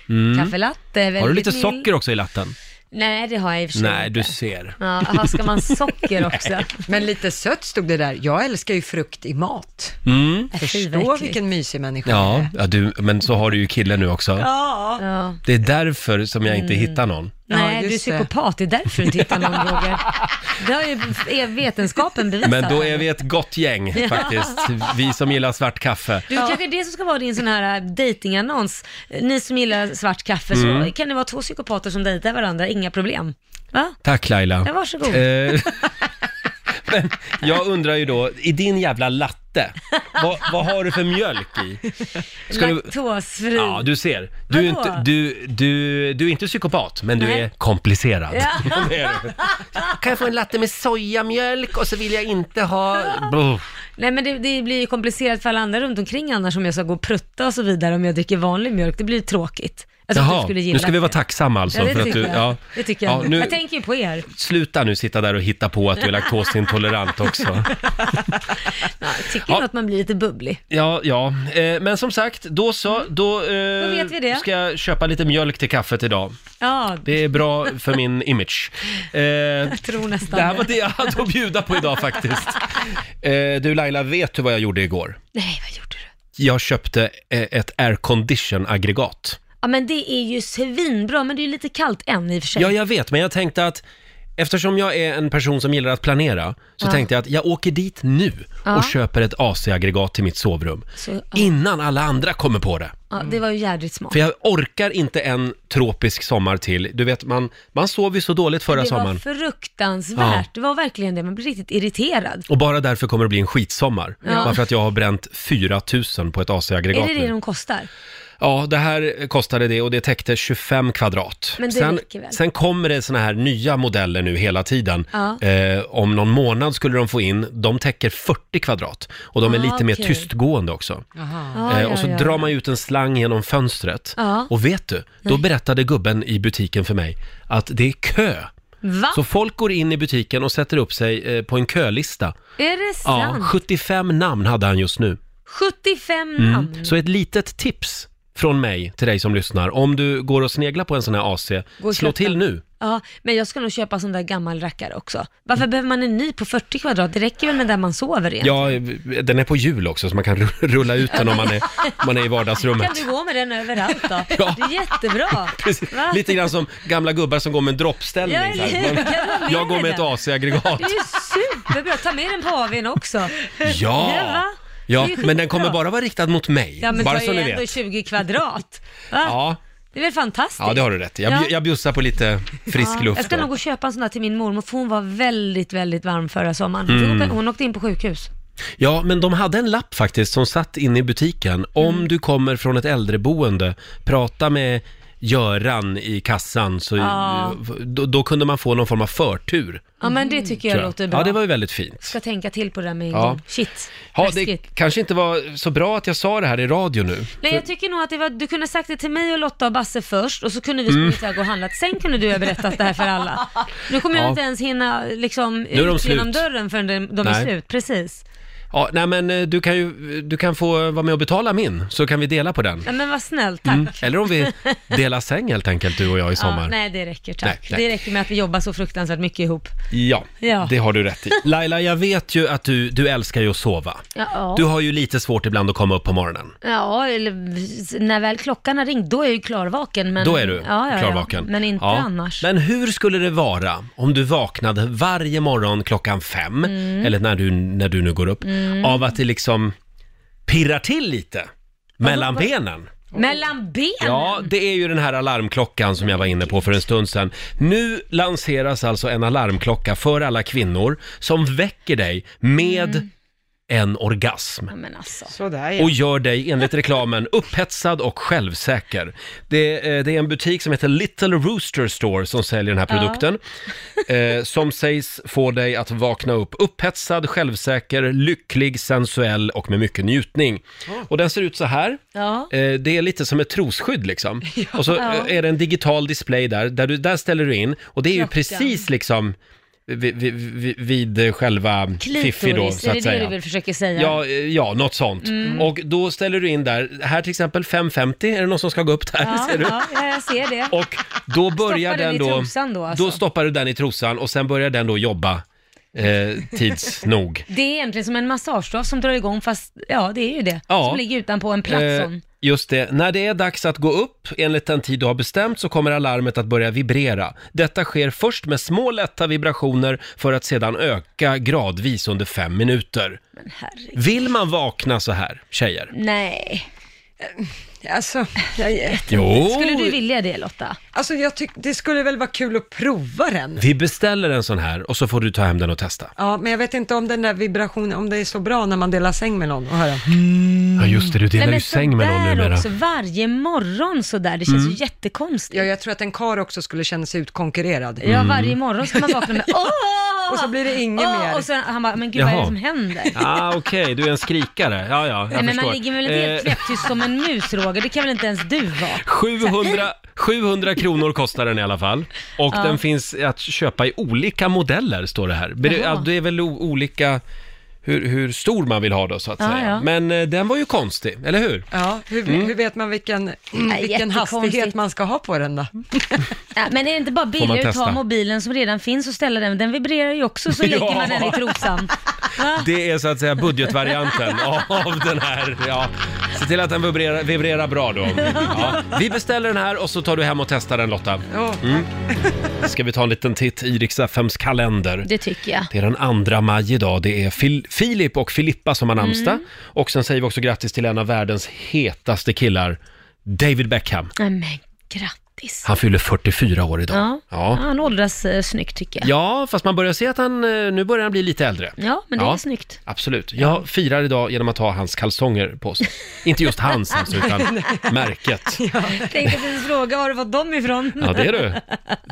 Kaffelatte är väldigt Har du lite mild. socker också i latten? Nej, det har jag i och för sig Nej, inte. du ser. Ja, aha, ska man socker också? Men lite sött stod det där. Jag älskar ju frukt i mat. Mm. Fy, vad Förstå äckligt. vilken mysig människa jag Ja, är. ja du, men så har du ju killen nu också. Ja. Mm. Det är därför som jag inte hittar någon. Ja, Nej, du är just det. psykopat. Det är därför du inte hittar någon, Roger. Det har ju är vetenskapen bevisat. Men då är vi ett gott gäng faktiskt, vi som gillar svart kaffe. Du, kanske det som ska vara din sån här äh, datingannons. Ni som gillar svart kaffe, Mm. så kan det vara två psykopater som dejtar varandra, inga problem. Va? Tack Laila. Ja, varsågod. Eh, men jag undrar ju då, i din jävla latte, vad, vad har du för mjölk i? Ska du, Laktosfri. ja, du ser. Du är, Vadå? inte, du, du, du är inte psykopat, men du Nej. är komplicerad. Ja. Det är du. Kan jag få en latte med sojamjölk och så vill jag inte ha... Buh. Nej men det, det blir ju komplicerat för alla andra runt omkring annars om jag ska gå och prutta och så vidare om jag dricker vanlig mjölk. Det blir ju tråkigt. Jag tror Alltså att du skulle gilla nu ska vi vara det. tacksamma alltså. Ja, det för att tycker du, jag. Ja. Det tycker jag. Ja, nu, Jag tänker ju på er. Sluta nu sitta där och hitta på att du är laktosintolerant också. Ja, jag tycker Ja. nog att man blir lite bubblig. Ja, ja. Eh, men som sagt, då så. Då, eh, Då vet vi det. ska jag köpa lite mjölk till kaffet idag. Ja, Det är bra för min image. Eh, jag tror nästan det här var det. det jag hade att bjuda på idag faktiskt. Eh, du Laila, vet du vad jag gjorde igår? Nej, vad gjorde du? Jag köpte eh, ett aircondition-aggregat. Ja men det är ju svinbra, men det är ju lite kallt än i och för sig. Ja, jag vet, men jag tänkte att eftersom jag är en person som gillar att planera så Ja. tänkte jag att jag åker dit nu Ja. och köper ett AC-aggregat till mitt sovrum. Så, ja. Innan alla andra kommer på det. ja, det var ju jädrigt smart. För jag orkar inte en tropisk sommar till. Du vet, man, man sov ju så dåligt förra Det var sommaren. fruktansvärt. Ja. Det var verkligen det. Man blir riktigt irriterad. Och bara därför kommer det bli en skitsommar. Ja. Bara för att jag har bränt 4 000 på ett Är AC-aggregat det det nu. de Eh, kostar? Ja, det här kostade det och det täckte 25 kvadrat. Men det sen, räcker väl? sen kommer det såna här nya modeller nu hela tiden. Ja. Eh, om någon månad skulle de få in, de täcker 40 kvadrat. Och de är Ah, lite mer okej. tystgående också. Jaha. Ja, eh, ja, och så ja, drar ja. man ut en slang genom fönstret. Ja. Och vet du, då berättade gubben i butiken för mig att det är kö. Va? Så folk går in i butiken och sätter upp sig eh, på en kölista. Är det Ja, sant? 75 namn hade han just nu. 75 Mm. namn? Så ett litet tips från mig till dig som lyssnar. Om du går och sneglar på en sån här AC, Gå och slå köpa. till nu. Ja, men jag ska nog köpa sån där gammal rackare också. Varför behöver man en ny på 40 kvadrat? Det räcker väl med där man sover igen? Ja, den är på hjul också så man kan ru- rulla ut den om man är, om man är i vardagsrummet. Kan du gå med den överallt då? Ja. Det är jättebra. Precis. Va? Lite grann som gamla gubbar som går med en droppställning. Ja, så här. ja, Man- kan du ha jag med går med dig ett den? AC-aggregat. Det är ju superbra. Ta med den på AWn också. Ja, Ja! va? Ja, Det är ju men den skitbra. kommer bara vara riktad mot mig. Ja, men bara ta så ju ni ändå vet. 20 kvadrat. Va? Ja, Det är väl fantastiskt? ja, det har du rätt i. Jag, bju- Ja. jag bjussar på lite frisk Jag luft. ska då. nog gå och köpa en sån där till min mormor, för hon var väldigt, väldigt varm förra sommaren. Mm. Hon, fick åka, hon åkte in på sjukhus. Ja, men de hade en lapp Mm. faktiskt som satt inne i butiken. Om du kommer från ett äldreboende, prata med Göran i kassan så Ja. då, då kunde man få någon form av förtur. Ja, men det Mm. tycker jag, tror jag. låter bra. Ja, det var ju väldigt fint. Ska tänka till på det där med Ja. ja. Shit, Ja, det läskigt. kanske inte var så bra att jag sa det här i radio nu. Nej, jag tycker nog att det var, du kunde ha sagt det till mig och Lotta och Basse först och så kunde vi Mm. sprungit iväg och handlat. Sen kunde du ha berättat det här för alla. Nu kommer Ja. jag inte ens hinna liksom är de ut genom slut. dörren förrän de, de Nej. är slut. Precis. Ja, nej men eh, du kan ju du kan få vara med och betala min, så kan vi dela på den. Ja, men vad snällt, tack. Mm. Eller om vi delar säng helt enkelt, du och jag i Ja, sommar. nej, det räcker, tack. Nej, nej. Det räcker med att vi jobbar så fruktansvärt mycket ihop. Ja, Ja. det har du rätt i. Laila, jag vet ju att du, du älskar ju att sova. Ja. Du har ju lite svårt ibland att komma upp på morgonen. Ja, eller när väl klockan har ringt, då är jag ju klarvaken. Men, Då är du ja, ja, ja. klarvaken. Men inte Ja. annars. Men hur skulle det vara om du vaknade varje morgon klockan fem, Mm. eller när du, när du nu går upp, Mm. av att det liksom pirrar till lite mellan vad- benen? Mellan benen? Ja, det är ju den här alarmklockan som jag var inne på för en stund sedan. Nu lanseras alltså en alarmklocka för alla kvinnor som väcker dig med Mm. en orgasm. Ja, men alltså. Sådär Och gör dig, enligt reklamen, upphetsad och självsäker. Det, eh, det är en butik som heter Little Rooster Store som säljer den här Ja. produkten. Eh, som sägs få dig att vakna upp upphetsad, självsäker, lycklig, sensuell och med mycket njutning. Och den ser ut så här. Oh. Ja. Eh, Det är lite som ett trosskydd liksom. Och så Ja. eh, är det en digital display där, där, du, där ställer du in. Och det är ju Klockan. precis liksom vid, vid, vid, vid själva Fiffi då, Klitoris, så är att det det säga. du vill försöka säga? Ja, eh, ja, något sånt. Mm. Och då ställer du in där, här till exempel 5.50, är det någon som ska gå upp där? ja, Ser du? ja, ja, jag ser det. Och då börjar Stoppa den den i då... trosan då, alltså. Då stoppar du den i trosan och sen börjar den då jobba eh, tids nog. Det är egentligen som en massagestav som drar igång, fast ja, det är ju det. Ja. Som ligger utanpå en plattform. Eh, just det. När det är dags att gå upp enligt den tid du har bestämt så kommer alarmet att börja vibrera. Detta sker först med små lätta vibrationer för att sedan öka gradvis under fem minuter. Vill man vakna så här, tjejer? Nej. Alltså, jag, Jo. Skulle du vilja det Lotta? alltså jag tyck, det skulle väl vara kul att prova den. Vi beställer en sån här och så får du ta hem den och testa. Ja, men jag vet inte om den där vibrationen, om det är så bra när man delar säng med någon och höra. Ja, just det. Du delar Nej, ju men säng med någon sådär numera. också, varje morgon sådär. Det känns Mm. ju jättekonstigt. Ja, jag tror att en kar också skulle känna sig utkonkurrerad. Mm. Ja, varje morgon ska man vakna med åh! Och så blir det inget Åh! mer. Och sen han bara, men gud vad är Jaha. det som händer? Ah, Okej, du är en skrikare. Ja, ja, jag Nej, men förstår. man ligger väl helt Eh, knäpptyst som en mus Roger, det kan väl inte ens du vara? 700, 700 kronor kostar den i alla fall. Och Ja. den finns att köpa i olika modeller, står det här. Men Det, Jaha. ja, det är väl o- olika hur, hur stor man vill ha då, så att Ja, säga. ja. Men eh, den var ju konstig, eller hur? Ja, hur, Mm. hur vet man vilken, vilken jättekonstigt. hastighet man ska ha på den då? Ja, men är det inte bara man billigare att testa? ta mobilen som redan finns och ställa den? Den vibrerar ju också, så lägger Ja. man den i trosan. Det är så att säga budgetvarianten av den här. Ja. Se till att den vibrerar, vibrerar bra då. Ja. Vi beställer den här och så tar du hem och testar den Lotta. Ja, Mm. Ska vi ta en liten titt i Rix FMs kalender? Det tycker jag. Det är den andra maj idag. Det är Fil- Filip och Filippa som har namnsdag. Mm. Och sen säger vi också grattis till en av världens hetaste killar, David Beckham. Nej, men grattis. Han fyller 44 år idag. Ja. Ja. Han åldras eh, snyggt tycker jag. Ja, fast man börjar se att han, eh, nu börjar han bli lite äldre. Ja, men det Ja. är snyggt. Absolut. Jag firar idag genom att ha hans kalsonger på sig. Inte just hans alltså, utan märket. Tänkte precis fråga, var har du fått dem ifrån? Ja, det är du.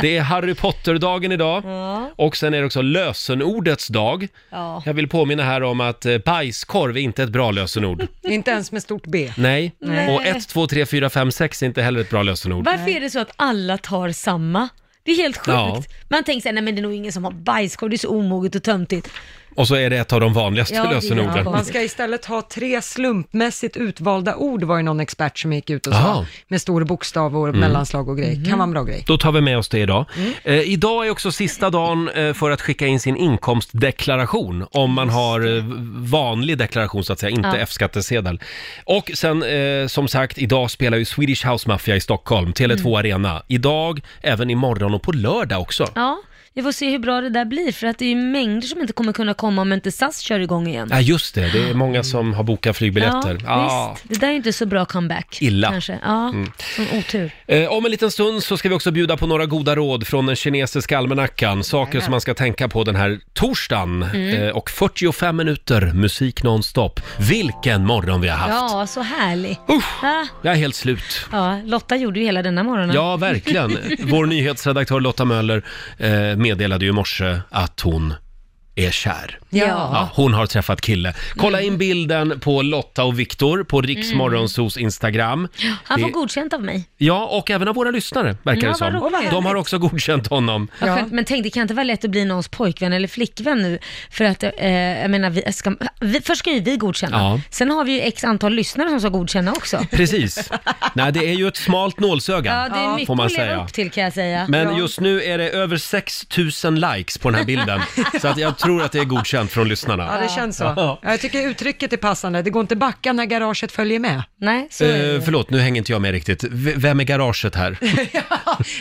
Det är Harry Potter-dagen idag. Ja. Och sen är det också lösenordets dag. Ja. Jag vill påminna här om att eh, bajskorv är inte ett bra lösenord. Inte ens med stort B. Nej. Nej. Och 1, 2, 3, 4, 5, 6 är inte heller ett bra lösenord. Varför är det så att alla tar samma? Det är helt sjukt. Ja. Man tänker såhär, nej men det är nog ingen som har bajskorv, det är så omoget och töntigt. Och så är det ett av de vanligaste Ja, det är lösenorden. bra. Man ska istället ha tre slumpmässigt utvalda ord var ju någon expert som gick ut och Aha. Mm. sa. Med stor bokstav och mellanslag och grejer. Kan vara en bra grej. Då tar vi med oss det idag. Eh, idag är också sista dagen eh, för att skicka in sin inkomstdeklaration om man har eh, vanlig deklaration så att säga, inte Ja. F-skattesedel. Och sen eh, som sagt, idag spelar ju Swedish House Mafia i Stockholm, Tele2 Arena. Idag, även imorgon och på lördag också. Mm. Ja, Vi får se hur bra det där blir, för att det är ju mängder som inte kommer kunna komma om inte SAS kör igång igen. Ja, just det. Det är många som har bokat flygbiljetter. Mm. Ja, Ah. visst. Det där är ju inte så bra comeback. Illa. Mm. Kanske. Ja, som otur. Eh, Om en liten stund så ska vi också bjuda på några goda råd från den kinesiska almanackan. Saker som man ska tänka på den här torsdagen. Mm. Eh, Och 45 minuter musik nonstop. Vilken morgon vi har haft! Ja, så härlig. Ja, Jag är helt slut. ja, Lotta gjorde ju hela denna morgonen. Ja, verkligen. Vår nyhetsredaktör Lotta Möller eh, meddelade ju i morse att hon är kär. Ja, hon har träffat kille. Kolla Mm. in bilden på Lotta och Viktor på Riksmorgonsos Mm. Instagram. Han får Det- godkänt av mig. Ja, och även av våra lyssnare, verkar Ja, det vad som. roligt. De har också godkänt honom. Vad Ja. skönt, men tänk, det kan inte vara lätt att bli någons pojkvän eller flickvän nu. För att, eh, jag menar, vi ska, vi, först ska ju vi godkänna. Ja. Sen har vi ju x antal lyssnare som ska godkänna också. Precis. Nej, det är ju ett smalt nålsöga, Ja, det är mycket får man att leva säga. upp till kan jag säga. Men just nu är det över 6 000 likes på den här bilden, så att jag tror att det är godkänt från lyssnarna. Ja, det känns så. Ja, jag tycker uttrycket är passande. Det går inte backa när garaget följer med. Nej, så är det. Eh, förlåt, nu hänger inte jag med riktigt. V- vem är garaget här?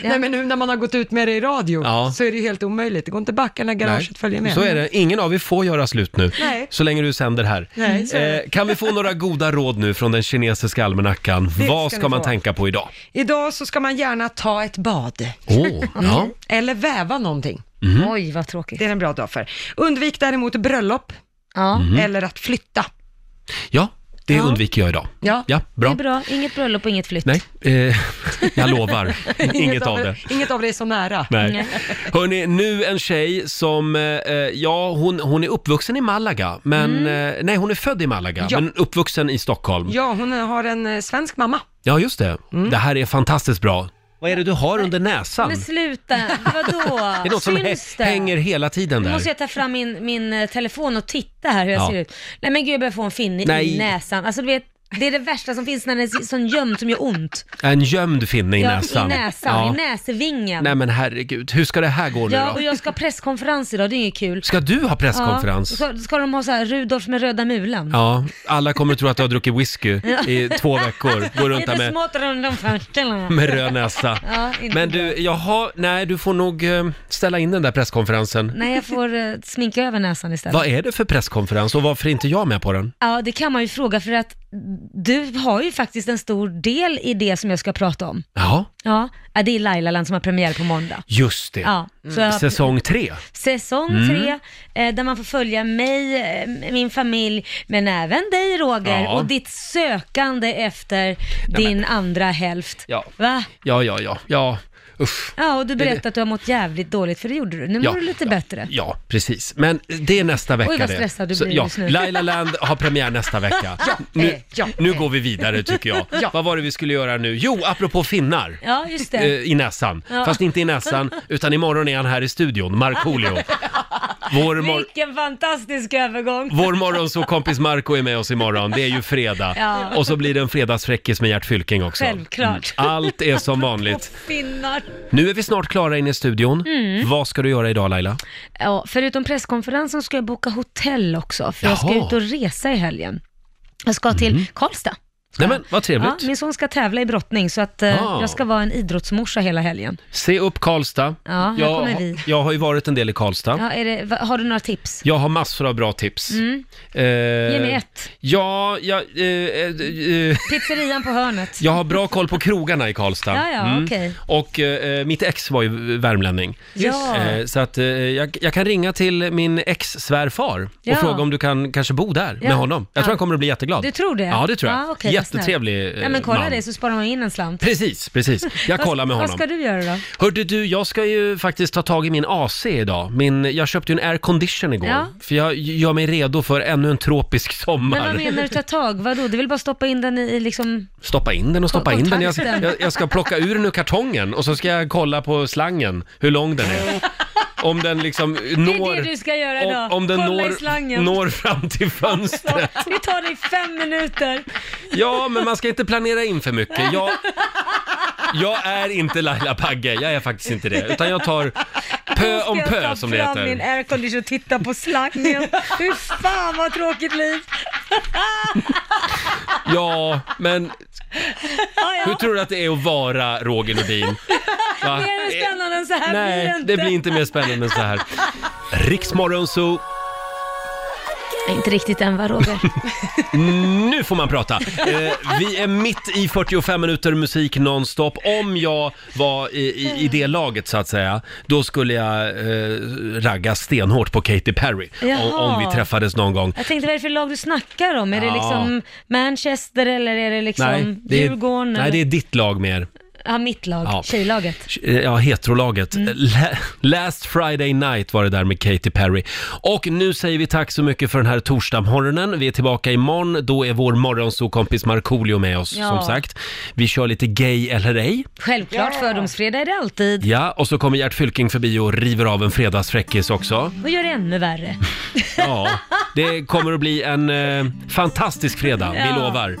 Nej, men nu när man har gått ut med det i radio Ja. så är det ju helt omöjligt. Det går inte backa när garaget följer med. Så är det. Ingen av er får göra slut nu, Nej. så länge du sänder här. Nej, så är det. Eh, kan vi få några goda råd nu från den kinesiska almanackan? Vad ska ska, ni man få. tänka på idag? Idag så ska man gärna ta ett bad. Åh, ja. Eller väva någonting. Oj, vad tråkigt. Det är en bra dag för. Undvik däremot bröllop Mm. Ja, eller att flytta. ja, det undviker jag idag. Ja. Ja, det bra. är bra. Inget bröllop och inget flytt. Nej, eh, jag lovar. Inget av det. Inget av det är så nära. Nej. Hörni, nu en tjej som, eh, ja hon, hon är uppvuxen i Malaga, men, Mm. eh, nej hon är född i Malaga, Ja. men uppvuxen i Stockholm. Ja, Ja, hon har en eh, svensk mamma. just det. Det här är fantastiskt bra. Vad är det du har under näsan? Mm. Men sluta, vadå? Det är något som hä- Syns det? hänger hela tiden Nu där. måste jag ta fram min, min eh, telefon och titta här hur jag Ja. ser ut. Nej men gud, jag börjar få en finne Nej. i näsan. Alltså du vet, det är det värsta som finns när den är sån gömd som gör ont. En gömd finne i Ja, näsan. I näsan, i näsvingen. Nej men herregud, hur ska det här gå nu ja, och då? jag ska ha presskonferens idag, det är inget kul. Ska du ha presskonferens? Ja, ska, ska de ha så här Rudolf med röda mulen? Ja, alla kommer tro att du har druckit whisky i två veckor. Går runt där Lite med, smått runt om fötterna. med röd näsa. Ja, inte Men bra. du, jaha, nej du får nog eh, ställa in den där presskonferensen. Nej, jag får eh, sminka över näsan istället. Vad är det för presskonferens och varför är inte jag med på den? Ja, det kan man ju fråga för att du har ju faktiskt en stor del i det som jag ska prata om. Ja, Ja, ja, det är Lailaland som har premiär på måndag. just det. Ja, Mm. så jag, Säsong tre. säsong Mm. tre, eh, där man får följa mig, eh, min familj, men även dig Roger Ja. och ditt sökande efter din andra hälft. Ja. Va? Ja, ja, ja, ja. Usch. Ja, och du berättade att du har mått jävligt dåligt, för det gjorde du. Nu Ja, mår du lite ja, bättre. Ja, precis. Men det är nästa vecka Oj, vad det. stressad du Så, blir ja, just nu. eh, Laila Land har premiär nästa vecka. nu, ja, nu går vi vidare tycker jag. Vad var det vi skulle göra nu? Jo, apropå finnar. Ja, just eh, det. I näsan. Ja. Fast inte i näsan, utan imorgon är han här i studion, Markoolio. Vår, mor- Vilken fantastisk övergång. Vår morgonsåkompis Marco är med oss imorgon, det är ju fredag. Ja. Och så blir det en fredagsfräckis med Gert Fylking också. Mm. Självklart. Allt är som Och vanligt. finnar. Nu är vi snart klara inne i studion. Mm. Vad ska du göra idag Laila? Ja, förutom presskonferensen ska jag boka hotell också, för jag ska Jaha. Mhm. ut och resa i helgen. Jag ska till Karlstad. Nej men vad Ja, trevligt. min son ska tävla i brottning, så att, eh, Ah. jag ska vara en idrottsmorsa hela helgen. Se upp Karlstad. Ja, här kommer vi. jag har ju varit en del i Karlstad. Ja, är det, va- har du några tips? Jag har massor av bra tips. Eh, Ge mig ett. Ja, jag, eh, eh, eh, Pizzerian på hörnet. jag har bra koll på krogarna i Karlstad. Mm. Ja, ja, okej. Och eh, mitt ex var ju värmlänning. Ja. Eh, Så att eh, jag, jag kan ringa till min ex-svärfar Ja. och fråga om du kan kanske bo där Ja. med honom. Jag tror Ja. han kommer att bli jätteglad. Du tror det? Ja, det tror jag. Ja, okej, vad snällt. Jättetrevlig eh, Ja, men kolla man. det så sparar man in en slant. Precis, precis. Jag Vad- kollar med honom. Vad ska du göra då? Hörde du, jag ska ju faktiskt ta tag i min AC idag. Min, jag köpte ju en aircondition igår. Ja. För jag gör mig redo för ännu en tropisk sommar. Men vad menar du ta tag? Vadå? Du vill bara stoppa in den i, i liksom... Stoppa in den och stoppa in den. Jag, Kontakten. jag, jag ska plocka ur den ur kartongen och så ska jag kolla på slangen, hur lång den är. Om den liksom når... det du ska göra om, idag. om den Kolla i når, slangen. når fram till fönstret. Det tar dig fem minuter. Ja, men man ska inte planera in för mycket. Jag, jag är inte Laila Bagge, jag är faktiskt inte det. Utan jag tar pö om Ska jag pö ta som det fram heter. min aircondition och titta på slangen. Hur fan vad tråkigt liv. Ja, men Ja, hur ja. tror du att det är att vara Roger Nordin? Va? Mer spännande än så här blir Nej, det inte. det blir inte mer spännande än så här. Riksmorgon Zoo, Inte riktigt än va Roger? nu får man prata. Eh, vi är mitt i 45 minuter musik nonstop. Om jag var i, i, i det laget så att säga, då skulle jag eh, ragga stenhårt på Katy Perry. Om, Jaha. om vi träffades någon gång. Jag tänkte, vad är det för lag du snackar om? Är det Ja. liksom Manchester eller är det liksom Nej, det är, Djurgården? nej, det eller? är ditt lag mer. Ja, mitt lag, Ja. Eh, tjejlaget. Mm. Ja, heterolaget. La- Last Friday Night var det där med Katy Perry. Och nu säger vi tack så mycket för den här torsdagsmorgonen. Vi är tillbaka imorgon. Då är vår morgonsokompis Markoolio med oss, Ja. som sagt. Vi kör lite gay eller ej. Självklart, fördomsfredag är det alltid. Ja, och så kommer Gert Fylking förbi och river av en fredagsfräckis också. Och gör det ännu värre. Ja, det kommer att bli en eh, fantastisk fredag, vi Ja. lovar.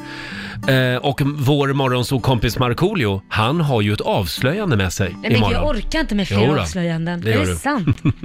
Eh, och vår morgonsokompis Markoolio, han har ju ett avslöjande med sig Nej, men imorgon. jag orkar inte med Jo då, fler avslöjanden. det är gör det du. sant?